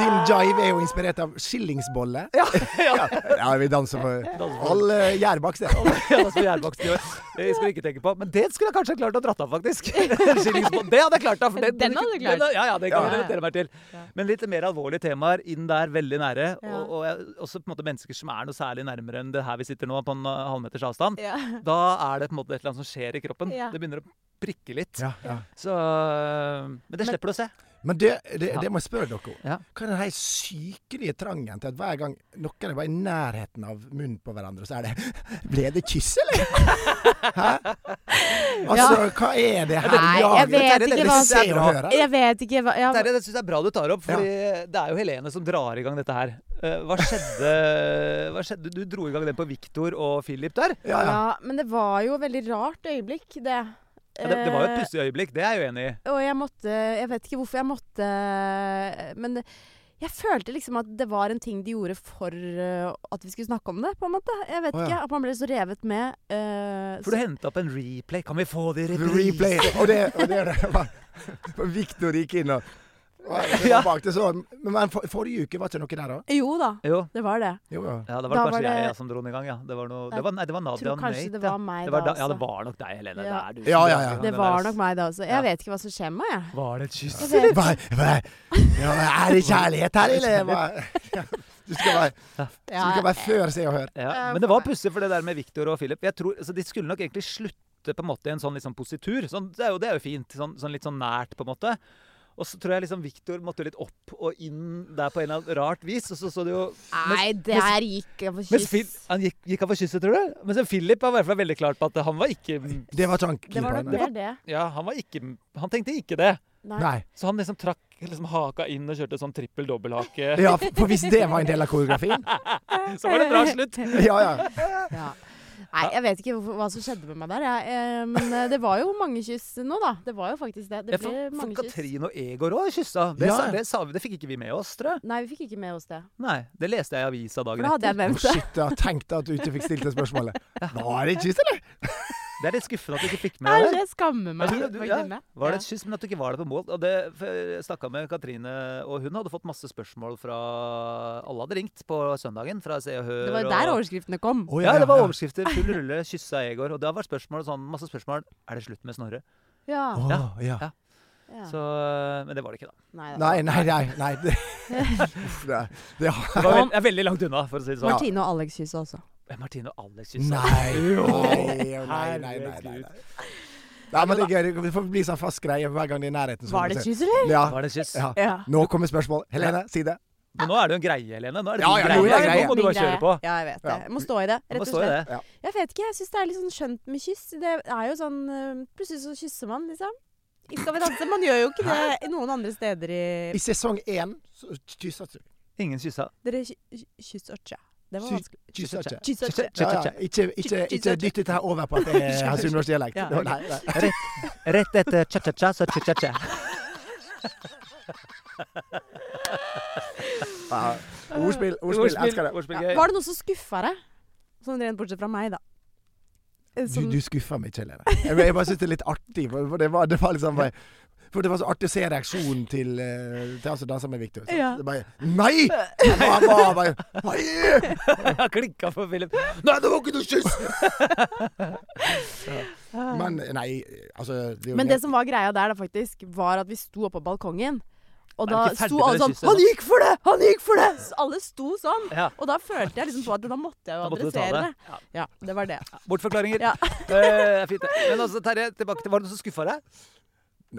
Speaker 4: din jive er jo inspirert av skillingsbolle.
Speaker 1: (laughs) Ja, (laughs) ja.
Speaker 4: Ja, vi danser
Speaker 1: (laughs)
Speaker 4: for
Speaker 1: for-
Speaker 4: Alle gjærbakst, det.
Speaker 1: Ja, det skulle gjærbakst gjøre. Det skal vi ikke tenke på. Men det skulle jeg kanskje klart å dratt av, faktisk. (laughs) Skillingsbånd. Det hadde jeg klart av. For det,
Speaker 2: Den hadde du klart.
Speaker 1: den- ja, ja, det kan jeg
Speaker 2: Ja.
Speaker 1: relatere meg til.
Speaker 2: Ja.
Speaker 1: Men litt mer alvorlige temaer inn der, veldig nære.
Speaker 2: Ja.
Speaker 1: Og, og jeg- også på en måte mennesker som er noe særlig nærmere enn det her vi sitter nå, på en uh, halvmeters avstand.
Speaker 2: Ja.
Speaker 1: Da er det på en måte et eller annet som skjer i kroppen.
Speaker 2: Ja.
Speaker 1: Det begynner å prikke litt.
Speaker 4: Ja, ja.
Speaker 1: Så, eh, men det slipper du å se.
Speaker 4: Men det, det,
Speaker 1: Ja.
Speaker 4: det må jeg spørre dere om.
Speaker 1: Ja.
Speaker 4: Hva er den her sykelige trangen til at hver gang noen er bare i nærheten av munnen på hverandre, så er det (laughs) Ble det kyss, eller? Hæ? Altså, hva er det her?
Speaker 2: Nei, jeg
Speaker 4: jaget?
Speaker 2: vet
Speaker 1: Det er
Speaker 2: ikke
Speaker 4: Vi
Speaker 2: hva
Speaker 1: det
Speaker 4: ser og
Speaker 1: bra.
Speaker 4: hører.
Speaker 2: Jeg vet ikke hva ja,
Speaker 1: Terje, det syns jeg er bra du tar opp, for det er jo Helene som drar i gang dette her. Eh, Hva skjedde,
Speaker 2: (laughs)
Speaker 1: hva skjedde? Du dro i gang den på Viktor og Philip der.
Speaker 4: Ja, ja.
Speaker 2: ja, Men det var jo et veldig rart øyeblikk, det.
Speaker 1: Ja, det, det var jo et
Speaker 2: Eh,
Speaker 1: pussig øyeblikk, det er jeg uenig i.
Speaker 2: Og jeg måtte Jeg vet ikke hvorfor jeg måtte Men det- jeg følte liksom at det var en ting de gjorde for eh, at vi skulle snakke om det, på en måte. Jeg vet
Speaker 4: Å, ja.
Speaker 2: ikke. At man ble så revet med. eh,
Speaker 1: For du henta opp en replay. Kan vi få det i reprise?
Speaker 4: Replay. Og det, og det, det var for Victor gikk inn og og det var bak det så. Men for, forrige uke var ikke noe der òg?
Speaker 2: så- Jo da,
Speaker 1: Jo.
Speaker 2: det var det.
Speaker 4: Jo, ja.
Speaker 1: Ja, det var
Speaker 2: Da var
Speaker 1: kanskje
Speaker 2: det-
Speaker 1: jeg ja, som dro den i gang, ja. Det var, noe, det
Speaker 2: Jeg
Speaker 1: var, nei, det var Nadia
Speaker 2: tror
Speaker 1: og
Speaker 2: kanskje
Speaker 1: Nate.
Speaker 2: det var
Speaker 1: ja.
Speaker 2: meg
Speaker 1: det var
Speaker 2: da
Speaker 1: Ja, det
Speaker 2: også.
Speaker 1: var nok deg, Helene.
Speaker 2: Ja.
Speaker 1: Det er du. som
Speaker 4: Ja, ja,
Speaker 1: drar i
Speaker 4: ja.
Speaker 1: gang
Speaker 2: Det
Speaker 1: den
Speaker 2: var
Speaker 1: der, altså.
Speaker 2: nok meg, det også. Jeg
Speaker 1: Ja.
Speaker 2: vet ikke hva som skjer med meg, jeg.
Speaker 1: ass. Var det et kyss?
Speaker 2: Jeg vet-
Speaker 4: Hva, hva, ja, er det kjærlighet her, eller? Hva? Du skal være, du skal være før Se og Hør.
Speaker 1: Ja,
Speaker 2: Eh,
Speaker 1: men det var
Speaker 2: for meg.
Speaker 1: pussig for det der med Victor og Philip. Jeg tror, altså, de skulle nok egentlig slutte på en måte i en sånn liksom, positur. Sånn, det, er jo, det er jo fint. Sånn, sånn litt sånn nært, på en måte. Og så tror jeg liksom Victor måtte litt opp og inn der på en eller annen rart vis. Og så så det jo
Speaker 2: Nei, der gikk jeg for
Speaker 1: Mens Phil,
Speaker 2: kyss.
Speaker 1: han gikk, gikk han for kysset, tror du? Mens Philip var i hvert fall veldig klar på at han var ikke
Speaker 4: Det var ikke han
Speaker 2: Det
Speaker 4: keen
Speaker 2: var
Speaker 4: på.
Speaker 2: nok
Speaker 4: nei.
Speaker 2: mer det.
Speaker 1: Ja, han var ikke Han tenkte ikke det.
Speaker 2: Nei.
Speaker 4: Nei.
Speaker 1: Så han liksom trakk liksom haka inn og kjørte sånn trippel-dobbelhake.
Speaker 4: Ja, for hvis det var en del av koreografien
Speaker 1: Så var det bra slutt.
Speaker 4: Ja,
Speaker 2: (laughs)
Speaker 4: ja.
Speaker 1: (laughs)
Speaker 2: Ja. Nei, jeg vet ikke hvorfor- hva som skjedde med meg der, jeg. Eh, Men eh, det var jo mange kyss nå, da. Det var jo faktisk det.
Speaker 1: Ja,
Speaker 2: Det
Speaker 1: for,
Speaker 2: ble
Speaker 1: for
Speaker 2: mange kyss.
Speaker 1: Katrin og Egor òg kyssa. Det,
Speaker 4: Ja.
Speaker 1: sa- det, sa vi- det fikk ikke vi med oss, tror jeg.
Speaker 2: Nei, vi fikk ikke med oss det.
Speaker 1: Nei, det leste jeg i avisa
Speaker 2: For
Speaker 1: dagen
Speaker 2: da hadde jeg
Speaker 1: etter.
Speaker 4: Oh,
Speaker 2: nevnt det.
Speaker 4: shit, jeg tenkte at du ikke fikk stilt det spørsmålet. Var det et kyss, eller?
Speaker 1: Det er litt skuffende at du ikke fikk med
Speaker 2: Nei,
Speaker 1: deg det.
Speaker 2: det skammer
Speaker 1: Men
Speaker 2: meg.
Speaker 1: du- du-
Speaker 2: faktisk,
Speaker 1: ja,
Speaker 2: meg.
Speaker 1: Var det
Speaker 2: Ja.
Speaker 1: et kyss, men at du ikke var der på mål? Og det, for jeg snakka med Katrine, og hun hadde fått masse spørsmål fra Alle hadde ringt på søndagen fra Se og Hør.
Speaker 2: Det var jo
Speaker 1: og-
Speaker 2: der overskriftene kom.
Speaker 4: Å,
Speaker 1: Ja, det var overskrifter. Full rulle, kyssa Egor. Og da var spørsmålet sånn, masse spørsmål. Er det slutt med Snorre?
Speaker 2: Ja.
Speaker 4: Å, ja.
Speaker 1: Ja.
Speaker 2: ja.
Speaker 1: Så, men det var det ikke,
Speaker 4: (laughs)
Speaker 1: da.
Speaker 2: Nei, da.
Speaker 4: Nei, nei, nei.
Speaker 2: (laughs)
Speaker 4: nei. Det, Uff, det, det har
Speaker 1: Det var veld, jeg er veldig langt unna, for å si det sånn.
Speaker 2: Martine og Alex kyssa også.
Speaker 1: Ja. Martine og Alex kyssa. (laughs)
Speaker 4: Nei. Nei, nei, nei. nei, nei, nei. Nei, men det er gøy. Det får bli sånn fast greie hver gang det er i nærheten. så får
Speaker 2: Var
Speaker 4: vi
Speaker 2: det et
Speaker 4: se.
Speaker 2: kyss, eller?
Speaker 4: Ja.
Speaker 1: Var det et kyss?
Speaker 4: ja.
Speaker 2: Ja.
Speaker 4: Nå kommer spørsmålet. Helene, si det.
Speaker 1: Men nå er det jo en greie, Helene. Nå er det
Speaker 4: Ja,
Speaker 1: din
Speaker 4: ja,
Speaker 1: greie.
Speaker 4: nå er det greie.
Speaker 1: Nå må du bare kjøre på.
Speaker 2: eh, Ja, jeg vet det.
Speaker 4: Ja.
Speaker 2: Jeg må stå i det,
Speaker 1: Du
Speaker 2: rett
Speaker 1: må
Speaker 2: og
Speaker 1: stå i
Speaker 2: slett.
Speaker 1: det.
Speaker 2: Jeg vet ikke, jeg syns det er litt sånn skjønt med kyss. Det er jo sånn eh, Plutselig så kysser man, liksom. I Skal vi danse? Man gjør jo ikke det i noen andre steder i
Speaker 4: I sesong én så kyssa du.
Speaker 1: Ingen kyssa.
Speaker 2: Dere ky- ky- kysser ikke. Det var
Speaker 4: Sy-
Speaker 2: vanskelig.
Speaker 4: kyssa ikke.
Speaker 2: Kysser
Speaker 1: Kyssa
Speaker 2: ikke.
Speaker 1: ikke.
Speaker 4: Ja, ja. Ikke, ikke, ikke dytt dette her over på at det er sunnmørsdialekt.
Speaker 2: Ja.
Speaker 4: Nei, nei.
Speaker 1: Rett etter cha-cha-cha, så cha-cha-cha.
Speaker 4: Ja. Ordspill, ordspill. Elsker det.
Speaker 1: ordspill gøy.
Speaker 2: Var det noe som skuffa deg? Sånn rent bortsett fra meg, da. Eh,
Speaker 4: Du,
Speaker 2: Som,
Speaker 4: du skuffer meg ikke, Helene. Jeg, jeg bare syns det er litt artig. For for det var, det var liksom bare for det var så artig å se reaksjonen til, eh, til han som danser med Victor. Så
Speaker 2: Ja.
Speaker 4: Det bare Nei! Han var bare Nei!
Speaker 1: Jeg klikka for Philip.
Speaker 4: Nei, det var ikke noe kyss! Men nei, altså det er jo
Speaker 2: men
Speaker 4: helt-
Speaker 2: det som var greia der, da, faktisk, var at vi sto oppe på balkongen.
Speaker 1: Er
Speaker 2: Og
Speaker 1: vi
Speaker 2: da
Speaker 1: ikke ferdig
Speaker 2: sto
Speaker 1: med
Speaker 2: alle
Speaker 1: det
Speaker 2: sånn
Speaker 1: kysset
Speaker 2: Han
Speaker 1: nå?
Speaker 2: gikk for det! Han gikk for det! Så alle sto sånn.
Speaker 1: Ja,
Speaker 2: Og da følte jeg liksom på at da måtte jeg jo
Speaker 1: da måtte du ta
Speaker 2: adressere
Speaker 1: det.
Speaker 2: det. Ja, det var det.
Speaker 1: Bortforklaringer.
Speaker 2: Ja.
Speaker 1: Eh, fint, (laughs) det. Men altså, Terje, tilbake til Var det noe som skuffa deg?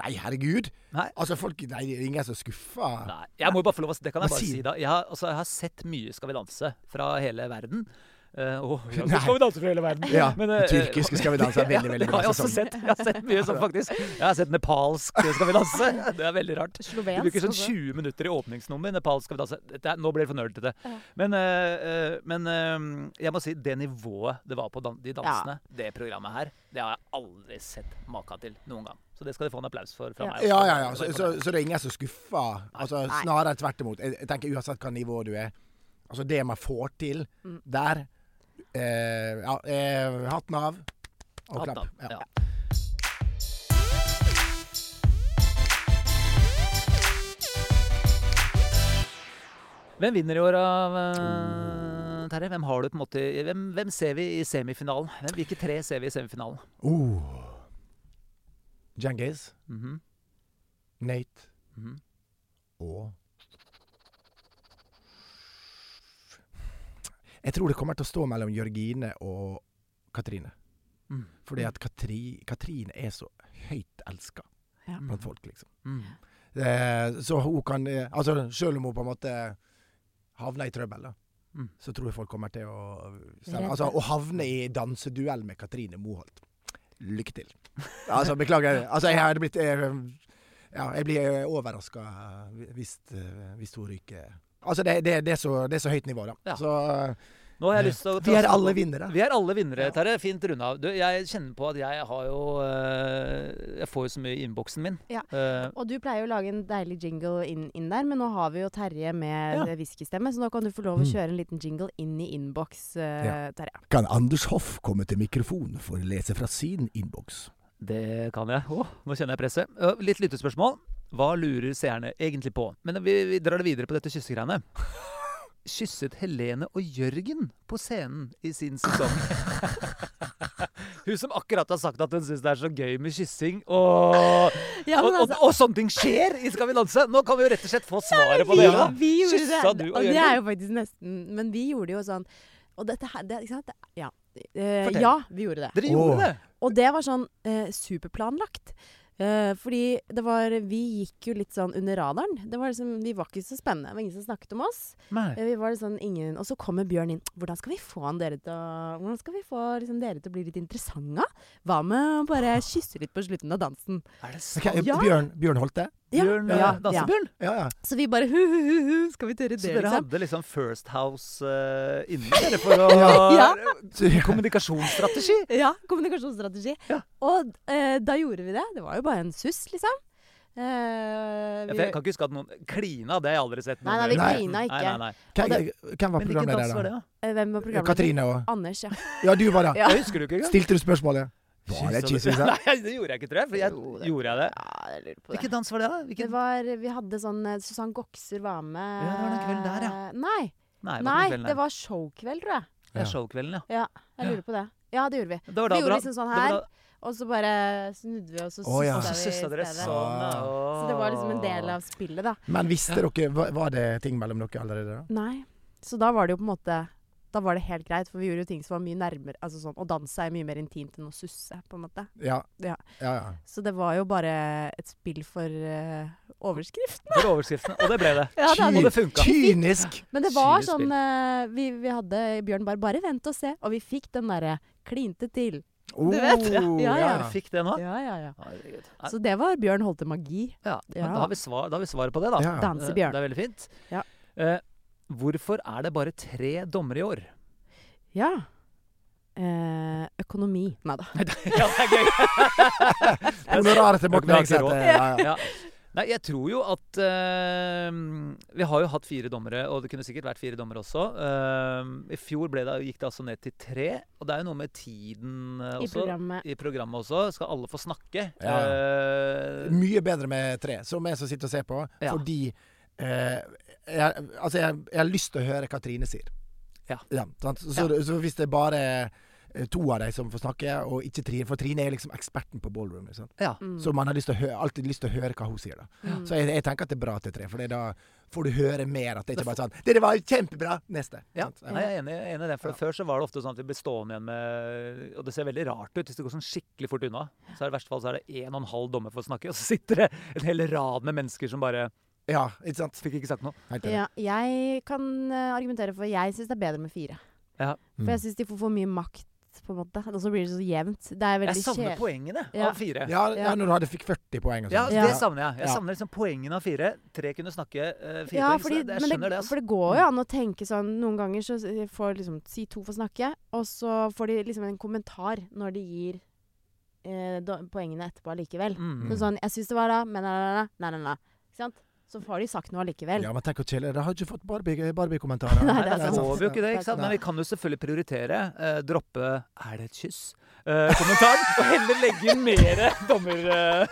Speaker 4: Nei, herregud.
Speaker 1: Nei.
Speaker 4: Altså, folk Nei, det er ingen som skuffer.
Speaker 1: Nei. Jeg må jo bare få lov å Det kan jeg
Speaker 4: Hva
Speaker 1: bare
Speaker 4: sier
Speaker 1: si,
Speaker 4: du?
Speaker 1: da. Jeg har, altså, jeg har sett mye Skal vi danse fra hele verden. Eh,
Speaker 4: (laughs)
Speaker 1: åh, ja,
Speaker 4: Nei.
Speaker 1: skal vi danse fra hele verden?
Speaker 4: Ja,
Speaker 1: Men, eh,
Speaker 4: tyrkisk Skal vi danse er veldig,
Speaker 1: (laughs)
Speaker 4: veldig
Speaker 1: Det har
Speaker 4: bra
Speaker 1: jeg også
Speaker 4: sesong.
Speaker 1: sett. Jeg har sett mye sånn, faktisk. Jeg har sett nepalsk Skal vi danse. (laughs) Det er veldig rart.
Speaker 2: Slovensk.
Speaker 1: Du bruker sånn
Speaker 2: også.
Speaker 1: 20 minutter i åpningsnummer. Nepal skal vi danse. Dette, er- nå blir det for nerdete. Men, øh, øh, men øh, jeg må si det nivået det var på dan de dansene, det programmet her, det har jeg aldri sett maka til noen gang. Så det skal de få en applaus for fra
Speaker 2: Ja.
Speaker 1: meg. også.
Speaker 4: Ja, ja, ja. Så,
Speaker 1: Det
Speaker 4: så,
Speaker 1: kommer.
Speaker 4: så det er ingen som skuffer. Altså,
Speaker 2: Nei.
Speaker 4: snarere tvert imot. Jeg, jeg tenker uansett hvilket nivå du er. Altså, det man får til
Speaker 1: Mm.
Speaker 4: der eh, Ja, eh, hatten av og
Speaker 1: Hatten
Speaker 4: klapp.
Speaker 1: av,
Speaker 4: Ja.
Speaker 1: ja. Hvem vinner i år av øh, Terje? Hvem har du på en måte Hvem, hvem ser vi i semifinalen? Hvem, hvilke tre ser vi i semifinalen?
Speaker 4: Oh. Djengis,
Speaker 1: Mhm,
Speaker 4: Nate
Speaker 1: mhm.
Speaker 4: og Jeg tror det kommer til å stå mellom Jørgine og Katrine.
Speaker 1: Mm.
Speaker 4: Fordi at Katri, Katrine er så høyt elska
Speaker 2: Ja.
Speaker 4: blant folk, liksom.
Speaker 1: Mm.
Speaker 4: Eh, så hun kan eh, Altså, sjøl om hun på en måte havner i trøbbel, da,
Speaker 1: Mm.
Speaker 4: så tror jeg folk kommer til å
Speaker 2: Redde.
Speaker 4: stemme. Altså, å havne i danseduell med Katrine Moholt. Lykke til. Altså, beklager. Altså, jeg hadde blitt eh, Ja, jeg blir overraska hvis, eh, hvis hun ryker. Altså, det, det, det, er så, det er så høyt nivå, da.
Speaker 1: Ja.
Speaker 4: Så
Speaker 1: Nå har jeg lyst til å
Speaker 4: vi er alle vinnere.
Speaker 1: Vi er alle vinnere.
Speaker 4: Ja.
Speaker 1: Terje, fint runda. Du, jeg kjenner på at jeg har jo eh, Jeg får jo så mye i innboksen min.
Speaker 2: Ja.
Speaker 1: Eh,
Speaker 2: Og du pleier jo å lage en deilig jingle inn, inn der, men nå har vi jo Terje med
Speaker 1: Ja.
Speaker 2: eh, whiskystemme, så nå kan du få lov å
Speaker 4: Mm.
Speaker 2: kjøre en liten jingle inn i innboks, eh,
Speaker 4: Ja.
Speaker 2: Terje.
Speaker 4: Kan Anders Hoff komme til mikrofonen for å lese fra sin innboks?
Speaker 1: det kan jeg. Åh, nå kjenner jeg presset. Eh, litt lyttespørsmål. Hva lurer seerne egentlig på? Men vi, vi drar det videre på dette
Speaker 2: (laughs)
Speaker 1: kyssegreiene. Kysset Helene og Jørgen på scenen i sin
Speaker 2: (laughs)
Speaker 1: sesong? hun som akkurat har sagt at hun syns det er så gøy med kyssing, og,
Speaker 2: Ja,
Speaker 1: og,
Speaker 2: men
Speaker 1: og,
Speaker 2: altså,
Speaker 1: og sånne ting skjer i Skal vi danse! Nå kan vi jo rett og slett få svaret på
Speaker 2: vi,
Speaker 1: det. da.
Speaker 2: vi gjorde det.
Speaker 1: Kyssa du og
Speaker 2: det er
Speaker 1: Jørgen?
Speaker 2: jo faktisk nesten Men vi gjorde jo sånn Og dette her det, Ikke sant? Det, ja. Eh,
Speaker 1: Fortell.
Speaker 2: ja, vi gjorde det.
Speaker 1: Dere gjorde
Speaker 4: Åh.
Speaker 1: det!
Speaker 2: Og det var sånn eh, superplanlagt. Eh, fordi det var Vi gikk jo litt sånn under radaren. Det var liksom, vi var ikke så spennende. Det var ingen som snakket om oss.
Speaker 1: Nei.
Speaker 2: Eh, Vi var liksom ingen, og så kommer Bjørn inn. Hvordan skal vi få han dere til å, hvordan skal vi få liksom dere til å bli litt interessante? Hva med å bare kysse litt på slutten av dansen?
Speaker 1: Er det
Speaker 4: Ok,
Speaker 1: sant?
Speaker 2: Ja.
Speaker 4: Bjørn, Bjørn Holte?
Speaker 1: Bjørn
Speaker 2: ja,
Speaker 1: ja,
Speaker 2: ja.
Speaker 1: Dansebjørn?
Speaker 4: Ja, ja.
Speaker 2: Så vi bare hu, hu, hu, hu, skal vi tørre
Speaker 1: Så
Speaker 2: det,
Speaker 1: dere
Speaker 2: liksom?
Speaker 1: hadde liksom First House eh, inne dere for å
Speaker 2: (laughs) Ja.
Speaker 4: Så-
Speaker 1: (laughs) Kommunikasjonsstrategi?
Speaker 2: (laughs) Ja, kommunikasjonsstrategi.
Speaker 1: Ja.
Speaker 2: Og eh, da gjorde vi det. Det var jo bare en suss, liksom. Eh,
Speaker 1: Ja,
Speaker 2: vi,
Speaker 1: for jeg kan ikke huske at noen klina. Det har jeg aldri sett.
Speaker 2: Nei,
Speaker 1: noen
Speaker 2: nei, vi
Speaker 1: gjøre.
Speaker 2: klina ikke.
Speaker 1: Nei, nei, nei.
Speaker 4: Hvem, hvem var
Speaker 1: Men hvilken dans var
Speaker 4: programleder
Speaker 1: det,
Speaker 4: da?
Speaker 1: da?
Speaker 2: eh, hvem var programmet?
Speaker 4: Katrine og
Speaker 1: (laughs)
Speaker 2: Anders, ja.
Speaker 4: Ja, du var det.
Speaker 2: Ja.
Speaker 1: Jeg husker du ikke engang?
Speaker 4: Stilte du spørsmålet? Var det kyssing? sa?
Speaker 1: (laughs) Nei, det gjorde jeg ikke, tror jeg. For jeg
Speaker 2: Jo, det-
Speaker 1: gjorde jeg det.
Speaker 2: ja, jeg lurer på det.
Speaker 1: Hvilken dans var det, da?
Speaker 2: Det
Speaker 1: Hvilken...
Speaker 2: var, vi hadde sånn eh, Susann Gokser var med. Eh,
Speaker 1: Ja, det var den kvelden der, ja.
Speaker 2: Nei,
Speaker 1: Nei, det var,
Speaker 2: nei,
Speaker 1: ikke kvelden
Speaker 2: det
Speaker 1: her.
Speaker 2: var showkveld, tror jeg.
Speaker 1: Det er showkvelden, ja.
Speaker 2: Ja, jeg
Speaker 1: Ja.
Speaker 2: lurer på det. Ja, det gjorde vi.
Speaker 1: Det var
Speaker 2: Vi
Speaker 1: da
Speaker 2: gjorde
Speaker 1: dere-
Speaker 2: liksom sånn
Speaker 1: det var
Speaker 2: her,
Speaker 1: da-
Speaker 2: og så bare snudde vi, og så sussa
Speaker 4: Å, ja.
Speaker 1: Så
Speaker 2: vi i
Speaker 1: sussa dere
Speaker 2: stedet.
Speaker 1: sånn, ja.
Speaker 2: Så det var liksom en del av spillet, da.
Speaker 4: Men visste dere var- Var det ting mellom dere allerede da?
Speaker 2: Nei. Så da var det jo på en måte Da var det helt greit, for vi gjorde jo ting som var mye nærmere Altså sånn, Å danse er mye mer intimt enn å susse, på en måte.
Speaker 4: Ja.
Speaker 2: Ja.
Speaker 4: ja, ja.
Speaker 2: Så det var jo bare et spill for eh, overskrift.
Speaker 1: For overskriftene. Og det ble det.
Speaker 2: Ja, det hadde
Speaker 1: Og det funka.
Speaker 4: Kynisk!
Speaker 2: Men det var
Speaker 1: Skyrespill.
Speaker 2: sånn eh, vi, vi hadde Bjørn bare 'Bare vent og se', og vi fikk den derre 'klinte til'.
Speaker 4: Oh,
Speaker 2: vet, ja. Ja, ja.
Speaker 1: Dere fikk det nå?
Speaker 2: Ja, ja, ja.
Speaker 1: Herregud.
Speaker 2: Så det var Bjørn Holte magi.
Speaker 1: Ja, men
Speaker 2: Ja.
Speaker 1: Da, har vi svar, da har vi svaret på det, da.
Speaker 4: Ja.
Speaker 1: Eh,
Speaker 2: Dansebjørn.
Speaker 1: Det er veldig fint.
Speaker 2: Ja.
Speaker 1: Eh, hvorfor er det bare tre dommere i år? (laughs)
Speaker 2: Ja. Eh, økonomi. Nei da.
Speaker 1: ja, det er gøy.
Speaker 4: (laughs) Honoraret til Morten
Speaker 1: Vi har ikke
Speaker 4: Hegseth.
Speaker 1: råd.
Speaker 4: eh, Ja, ja.
Speaker 1: Ja. Nei, jeg tror jo at eh, Vi har jo hatt fire dommere, og det kunne sikkert vært fire dommere også. Eh, I fjor ble det, gikk det altså ned til tre. Og det er jo noe med tiden eh,
Speaker 2: I
Speaker 1: også.
Speaker 2: programmet.
Speaker 1: I programmet også. Skal alle få snakke?
Speaker 4: Ja.
Speaker 1: Eh,
Speaker 4: Mye bedre med tre, som jeg som sitter og ser på,
Speaker 1: Ja.
Speaker 4: fordi eh, jeg, altså jeg, jeg har lyst til å høre Katrine sier.
Speaker 1: Ja.
Speaker 4: sant? så, så hvis det bare er eh, to av dem som får snakke, og ikke Trine For Trine er liksom eksperten på ballroom. Ikke sant?
Speaker 1: ja.
Speaker 2: Mm.
Speaker 4: Så man har lyst til å hø- alltid lyst til å høre hva hun sier. da.
Speaker 2: Mm.
Speaker 4: Så jeg, jeg tenker at det er bra til tre, for det da får du høre mer. At det ikke bare er sånn 'Dere var jo kjempebra! Neste!'
Speaker 1: Ja,
Speaker 4: Sant?
Speaker 1: nei, jeg er enig, jeg er enig i det. For
Speaker 4: Ja.
Speaker 1: Før så var det ofte sånn at vi ble stående igjen med Og det ser veldig rart ut hvis det går sånn skikkelig fort unna. Så er det i verste fall så er det en og en halv dommer for å snakke, og så sitter det en hel rad med mennesker som bare
Speaker 4: Ja, ikke sant?
Speaker 1: fikk ikke sagt noe.
Speaker 4: Helt enig.
Speaker 2: Ja, jeg kan eh, argumentere for Jeg syns det er bedre med fire.
Speaker 1: Ja.
Speaker 2: For jeg syns de får for mye makt, på en måte. Og så blir det så jevnt. Det er
Speaker 1: Jeg
Speaker 2: veldig
Speaker 1: savner
Speaker 2: kjedelig.
Speaker 1: poengene
Speaker 2: Ja.
Speaker 1: av fire. Ja.
Speaker 4: Ja, ja, når du hadde fikk 40 poeng og sånn.
Speaker 1: det savner jeg. Jeg
Speaker 4: Ja.
Speaker 1: savner liksom poengene av fire. Tre kunne snakke eh, fire
Speaker 2: Ja,
Speaker 1: poeng.
Speaker 2: fordi,
Speaker 1: så det, jeg
Speaker 2: men
Speaker 1: skjønner
Speaker 2: det,
Speaker 1: det. altså.
Speaker 2: for det går jo an å tenke sånn Noen ganger så får liksom Si to får snakke, og så får de liksom en kommentar når de gir eh, do- poengene etterpå allikevel.
Speaker 1: Mm.
Speaker 2: Så sånn 'Jeg syns det var da, men nei, nei, nei, nei, nei.' Ikke sant? Så får de sagt noe
Speaker 1: (laughs)
Speaker 2: allikevel.
Speaker 4: Ja, men tenk hvor kjedelig. Da har ikke fått Barbie- Barbie-kommentarer.
Speaker 2: Nei,
Speaker 1: Nei,
Speaker 2: det
Speaker 1: da
Speaker 2: er sant.
Speaker 1: får vi jo ikke det,
Speaker 2: Det er
Speaker 1: ikke sant?
Speaker 4: sant.
Speaker 1: Men vi kan jo selvfølgelig prioritere. Eh, droppe 'er det et kyss?' Eh, kommentaren, (laughs) og heller legge inn mer (laughs) dommer... Eh,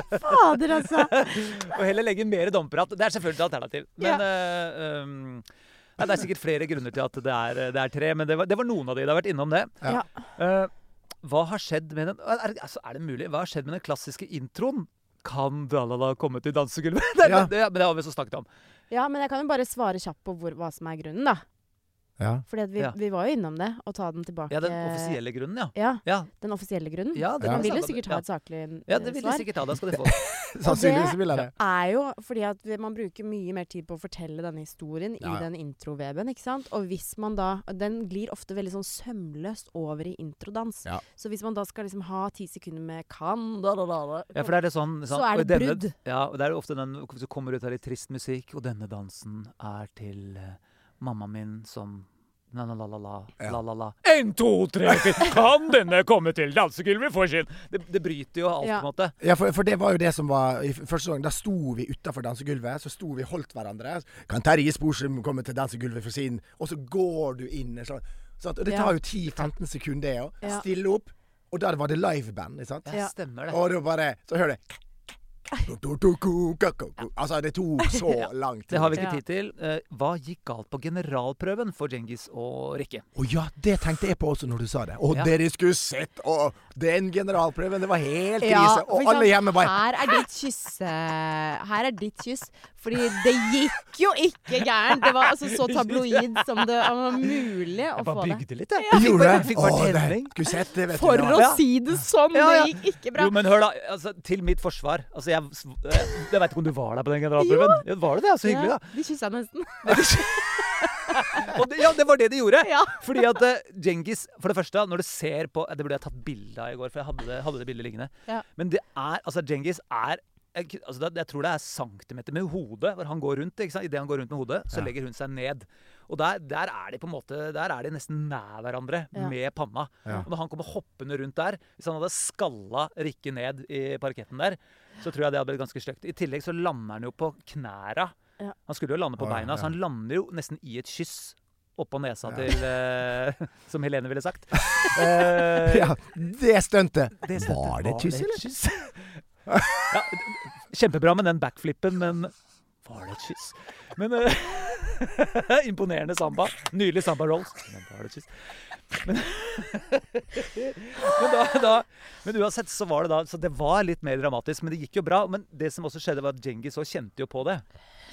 Speaker 2: Fader, altså!
Speaker 1: (laughs) Og heller legge inn mer domprat. Det er selvfølgelig et alternativ. Men eh, um, nei, Det er sikkert flere grunner til at det er, eh, det er tre, men det var, det var noen av de. Det har vært innom det.
Speaker 4: Ja.
Speaker 2: Ja.
Speaker 1: Eh, hva har skjedd med den er, altså, er det mulig? Hva har skjedd med den klassiske introen? Kan Dalala komme til dansegulvet? (laughs) Det, er-
Speaker 4: Ja.
Speaker 1: det, ja, men det har vi så snakket om.
Speaker 2: Ja, men jeg kan jo bare svare kjapt på hvor, hva som er grunnen, da.
Speaker 4: Ja.
Speaker 2: Fordi at vi,
Speaker 1: Ja.
Speaker 2: vi var jo innom det, å ta den tilbake.
Speaker 1: Ja, den offisielle grunnen, ja.
Speaker 2: Ja,
Speaker 1: Ja,
Speaker 2: den offisielle grunnen.
Speaker 1: ja det
Speaker 4: Ja.
Speaker 1: kan
Speaker 2: Man
Speaker 1: vi
Speaker 2: vil
Speaker 1: snakke
Speaker 2: jo
Speaker 1: om.
Speaker 2: sikkert ha et saklig eh,
Speaker 1: Ja, ja det vil de
Speaker 2: svar.
Speaker 1: sikkert ha. Da skal de få.
Speaker 4: Sannsynligvis vil jeg det.
Speaker 2: er jo fordi at vi- man bruker mye mer tid på å fortelle denne historien
Speaker 4: Ja, ja.
Speaker 2: i den introveven, ikke sant? Og hvis man da Den glir ofte veldig sånn sømløst over i introdans.
Speaker 4: Ja.
Speaker 2: Så hvis man da skal liksom ha ti sekunder med kan da, da, da, da,
Speaker 1: Ja, for det er det sånn,
Speaker 2: Så
Speaker 1: sånn-
Speaker 2: er
Speaker 1: og
Speaker 2: det
Speaker 1: denne-
Speaker 2: brudd.
Speaker 1: Ja, og det er jo ofte den som kommer ut av litt trist musikk, og denne dansen er til eh, mamma min som La-la-la-la.
Speaker 4: Ja.
Speaker 1: la-la-la. En, to, tre, fire. Kan denne komme til dansegulvet for sin det, det bryter jo alt,
Speaker 2: Ja.
Speaker 1: på en måte.
Speaker 4: Ja, for, for det var jo det som var i f- første gang. Da sto vi utafor dansegulvet, så sto vi holdt hverandre. Kan Terje Sporsum komme til dansegulvet for sin Og så går du inn en sånn. sant? Og det
Speaker 2: Ja.
Speaker 4: tar jo 10-15 sekunder, det òg.
Speaker 2: Ja.
Speaker 4: Stille opp. Og der var det liveband. ikke sant?
Speaker 1: Ja,
Speaker 2: Ja.
Speaker 1: stemmer det.
Speaker 4: Og det var bare Så hører (laughs) du Altså, det tok
Speaker 1: (laughs)
Speaker 4: så lang tid.
Speaker 1: Det har vi ikke
Speaker 2: Ja.
Speaker 1: tid til. Eh, Hva gikk galt på generalprøven for Djengis og Rikke?
Speaker 4: Å ja, det tenkte jeg på også når du sa det. Og
Speaker 1: Ja.
Speaker 4: dere skulle sett og Den generalprøven, det var helt krise.
Speaker 2: for
Speaker 4: og
Speaker 2: ikke
Speaker 4: alle
Speaker 2: sant,
Speaker 4: hjemme bare
Speaker 2: Her er ditt kyss. eh, Her er ditt kyss. Fordi det gikk jo ikke gærent. Det var altså så tabloid som det var mulig å få det.
Speaker 1: litt, jeg.
Speaker 4: Gjorde
Speaker 1: Fikk bare,
Speaker 4: det?
Speaker 1: fikk bare
Speaker 4: Å, det-
Speaker 1: tenning.
Speaker 4: Skulle sett det, vet du.
Speaker 2: For
Speaker 4: det var-
Speaker 2: å
Speaker 1: Ja.
Speaker 2: si det sånn!
Speaker 1: Ja, ja.
Speaker 2: Det gikk ikke bra.
Speaker 1: Jo, men hør, da. Altså, til mitt forsvar. Altså, jeg, jeg vet ikke om du var der på den generalprøven? Ja, var du det? Så hyggelig, da.
Speaker 2: Ja, de kyssa nesten.
Speaker 1: (laughs) Og det, ja, det var det de gjorde.
Speaker 2: Ja.
Speaker 1: Fordi at eh, Djengis, for det første, når du ser på eh, Det burde jeg tatt bilde av i går, for jeg hadde det, hadde det bildet liggende.
Speaker 2: Ja.
Speaker 1: Men det er Altså, Djengis er jeg, k- altså, det- jeg tror det er centimeter med hodet hvor han går rundt. ikke sant? Idet han går rundt med hodet, så
Speaker 4: Ja.
Speaker 1: legger hun seg ned. Og der, der er de på en måte, der er de nesten nær hverandre
Speaker 2: Ja.
Speaker 1: med panna.
Speaker 4: Ja.
Speaker 1: Og når han kommer hoppende rundt der Hvis han hadde skalla Rikke ned i parketten der, så tror jeg det hadde blitt ganske stygt. I tillegg så lander han jo på knæra.
Speaker 2: Ja.
Speaker 1: Han skulle jo lande på
Speaker 4: Å, ja,
Speaker 1: beina, så
Speaker 4: ja.
Speaker 1: han lander jo nesten i et kyss. Oppå nesa
Speaker 4: Ja.
Speaker 1: til eh, (laughs) Som Helene ville
Speaker 4: (laughs)
Speaker 1: sagt. Eh,
Speaker 4: Ja, det stuntet.
Speaker 1: det stemte.
Speaker 4: Var det et kyss, eller?
Speaker 1: kyss? (laughs) ja, kjempebra med den backflippen, men var det et kyss? Men eh, (laughs) Imponerende samba. Nylig samba rolls. Men var det et kyss? (laughs) Men, men, da, da, men uansett så var det da Så det var litt mer dramatisk, men det gikk jo bra. Men det som også skjedde, var at Djengis òg kjente jo på det.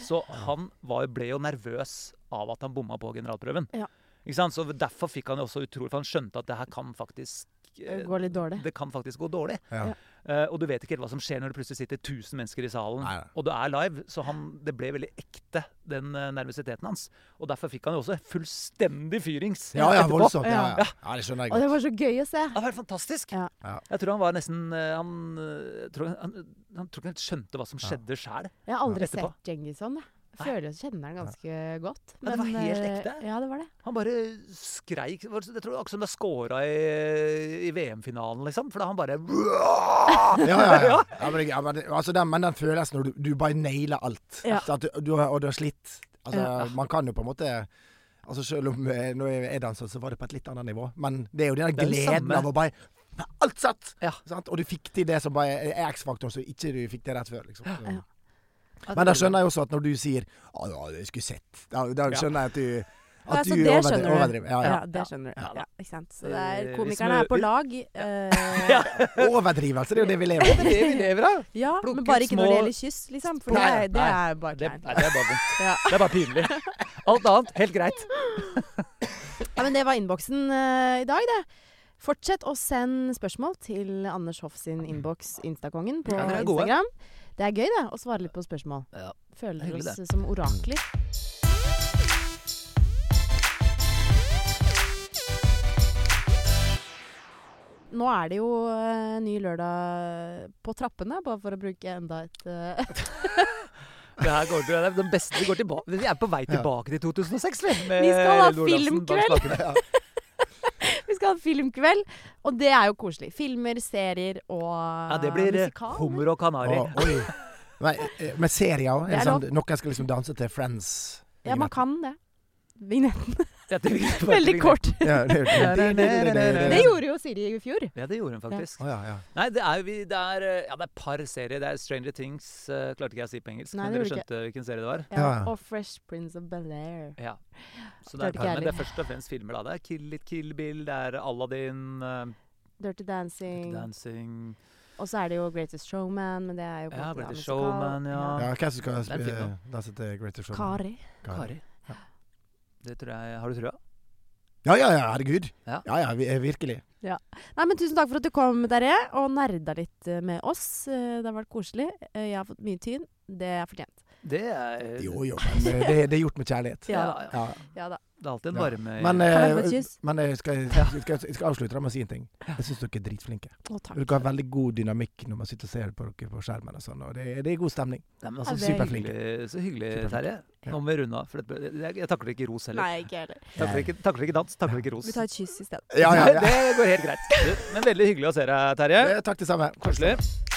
Speaker 1: Så han var, ble jo nervøs av at han bomma på generalprøven.
Speaker 2: Ja.
Speaker 1: Ikke sant? Så Derfor fikk han jo også utrolig For han skjønte at det her kan faktisk eh,
Speaker 2: Det går litt dårlig.
Speaker 1: det kan faktisk gå dårlig.
Speaker 4: Ja.
Speaker 2: Ja.
Speaker 1: Eh, og du vet ikke helt hva som skjer når det plutselig sitter 1000 mennesker i salen,
Speaker 4: Nei, nei.
Speaker 1: og du er live. Så han, det ble veldig ekte, den eh, nervøsiteten hans. Og derfor fikk han jo også fullstendig fyrings
Speaker 4: Ja, ja,
Speaker 1: etterpå.
Speaker 4: voldsomt. Ja, ja. ja, det skjønner jeg
Speaker 2: Og det
Speaker 4: godt.
Speaker 2: var så gøy å se.
Speaker 1: Det var helt fantastisk.
Speaker 2: Ja.
Speaker 4: Ja.
Speaker 1: Jeg tror han var nesten eh, Han, eh, jeg tror, han, han tror ikke han skjønte hva som skjedde sjæl.
Speaker 2: Jeg har aldri
Speaker 1: Etterpå.
Speaker 2: sett Djengis sånn. jeg. Jeg føler jeg kjenner han ganske godt.
Speaker 1: Ja, det var
Speaker 2: men,
Speaker 1: helt
Speaker 2: eh,
Speaker 1: ekte.
Speaker 2: Ja, det var det.
Speaker 1: Han bare skreik Det var- Jeg tror det var akkurat som det er scora i, i VM-finalen, liksom. For da han
Speaker 4: (laughs)
Speaker 1: bare
Speaker 4: Ja,
Speaker 2: (laughs)
Speaker 4: ja, ja. ja, men, ja men, det- altså, den, men den følelsen når du, du bare nailer alt,
Speaker 2: Ja.
Speaker 4: Så at du, du, har- og du har slitt altså,
Speaker 2: Ja.
Speaker 4: Man kan jo på en måte Altså Selv om eh, når jeg danset, så var det på et litt annet nivå. Men det er jo
Speaker 1: Det
Speaker 4: den
Speaker 1: er
Speaker 4: der
Speaker 1: det
Speaker 4: gleden
Speaker 1: samme.
Speaker 4: av å bare Alt satt!
Speaker 1: Ja.
Speaker 4: Sant? Og du fikk til det som bare er X-faktoren, så ikke du fikk det rett før. Liksom. Så-
Speaker 2: Ja.
Speaker 4: Men da skjønner jeg også at når du sier «Å, ja, jeg skulle sett Da, da skjønner jeg at du, at
Speaker 2: Ja, så
Speaker 4: du
Speaker 2: Altså, det
Speaker 4: overdri-
Speaker 2: skjønner du.
Speaker 4: overdriver. Ja,
Speaker 2: Ja,
Speaker 4: ja.
Speaker 2: det skjønner du.
Speaker 1: Ja, da.
Speaker 2: Ja, ikke sant? Så det er,
Speaker 1: Eh, hvis
Speaker 2: komikerne
Speaker 1: vi-
Speaker 2: er på lag. eh,
Speaker 4: Overdrivelse, det er jo det vi lever
Speaker 1: Det (laughs)
Speaker 4: av.
Speaker 1: er det vi lever av!
Speaker 2: ja,
Speaker 1: Plukke
Speaker 2: men bare ikke når det
Speaker 1: små-
Speaker 2: gjelder kyss, liksom. For det
Speaker 1: Nei,
Speaker 2: er, det
Speaker 1: nei.
Speaker 2: er bare
Speaker 1: Det,
Speaker 2: kleint.
Speaker 1: nei, det er bare vondt.
Speaker 2: Ja.
Speaker 1: Det er bare pinlig. Alt annet helt greit.
Speaker 2: Ja, men det var innboksen eh, i dag, det. Fortsett å sende spørsmål til Anders Hoff sin innboks, Instakongen, på
Speaker 1: Ja, dere er gode.
Speaker 2: Instagram. Det er gøy, det, å svare litt på spørsmål.
Speaker 1: Ja,
Speaker 2: Føler
Speaker 1: hyggelig,
Speaker 2: oss som orakler. Nå er det jo eh, ny lørdag på trappene, bare for å bruke enda et eh,
Speaker 1: Det her går til, det er den beste vi går tilbake Vi er på vei tilbake til 2006, vi. med
Speaker 2: Vi skal ha
Speaker 1: Lord Olafsen bak
Speaker 2: filmkveld.
Speaker 1: spakene.
Speaker 2: Vi skal ha filmkveld, og det er jo koselig. Filmer, serier og
Speaker 1: Ja, det blir eh,
Speaker 2: Ah, musikal.
Speaker 1: hummer og kanari.
Speaker 4: Å, oi. Nei, eh, men serier òg?
Speaker 2: Det er
Speaker 4: Sånn, noen skal liksom danse til Friends?
Speaker 2: Ja, man kan det. (laughs) Vignetten.
Speaker 1: Ja, det blir-
Speaker 2: Veldig kort.
Speaker 4: Ja,
Speaker 2: (laughs)
Speaker 4: det,
Speaker 1: Ja, det- det- det-
Speaker 2: Det gjorde jo Siri i fjor.
Speaker 1: Ja, det gjorde hun faktisk.
Speaker 4: Å, ja, ja.
Speaker 1: Nei, det er jo vi Det er eh, Ja, det er par serier. Det er Stranger Things, eh, klarte ikke jeg å si på engelsk,
Speaker 2: Nei,
Speaker 1: men
Speaker 2: det
Speaker 1: dere
Speaker 2: gjorde
Speaker 1: skjønte hvilken serie det var.
Speaker 4: Ja.
Speaker 2: Ja, og Fresh Prince of Bel-Air.
Speaker 1: Ja. Så det er,
Speaker 2: Klarte ikke
Speaker 1: par, men
Speaker 2: jeg
Speaker 1: det er først og fremst filmer, da. Det er Kill It Kill Bill, det er Aladdin, eh,
Speaker 2: Dirty Dancing.
Speaker 1: Dancing
Speaker 2: Og så er det jo Greatest Showman, men det er jo på en
Speaker 1: Ja,
Speaker 2: måte da
Speaker 1: Greatest
Speaker 2: musikal.
Speaker 1: Showman, ja.
Speaker 4: ja, hvem som skal
Speaker 1: Den er fin,
Speaker 4: eh, danse til Greater Show?
Speaker 2: Kari.
Speaker 1: Kari. Det tror jeg Har du trua?
Speaker 4: Ja, ja, ja, herregud.
Speaker 1: Ja.
Speaker 4: Ja, ja, vi- eh, virkelig.
Speaker 2: Nei, men Tusen takk for at du kom, Terje, og nerda litt eh, med oss. Eh, Det har vært koselig. Eh, Jeg har fått mye tyn. Det er fortjent.
Speaker 1: Det er
Speaker 4: Jo, jo, men eh, det, det er gjort med kjærlighet.
Speaker 1: Ja,
Speaker 2: Ja da.
Speaker 1: ja.
Speaker 4: Ja.
Speaker 2: Ja da.
Speaker 1: (laughs) Det er alltid en
Speaker 4: Ja.
Speaker 1: varme i-
Speaker 4: Men,
Speaker 2: Kan jeg
Speaker 4: eh,
Speaker 2: få et kyss?
Speaker 4: men eh, skal, jeg- skal, jeg- jeg skal avslutte da med å si en ting. Jeg syns dere er dritflinke.
Speaker 2: Å, takk.
Speaker 4: Dere har veldig god dynamikk når man sitter og ser på dere på skjermen. og sånn, og det, det er god stemning.
Speaker 1: Nei, men
Speaker 2: Ja,
Speaker 1: altså,
Speaker 2: det er
Speaker 1: superflinke. Så hyggelig,
Speaker 4: Superflinke.
Speaker 1: Terje.
Speaker 4: Ja.
Speaker 1: Nå må vi runde av. For dette- jeg, jeg takler ikke ros heller.
Speaker 2: Nei, ikke heller.
Speaker 1: Takler ikke, takler ikke dans, takler ikke ros.
Speaker 2: Vi tar et kyss isteden.
Speaker 1: (laughs)
Speaker 4: Ja, ja, ja. (laughs)
Speaker 1: Det går helt greit. Du, Men veldig hyggelig å se deg, Terje.
Speaker 4: Eh, Takk det samme.
Speaker 1: Koselig.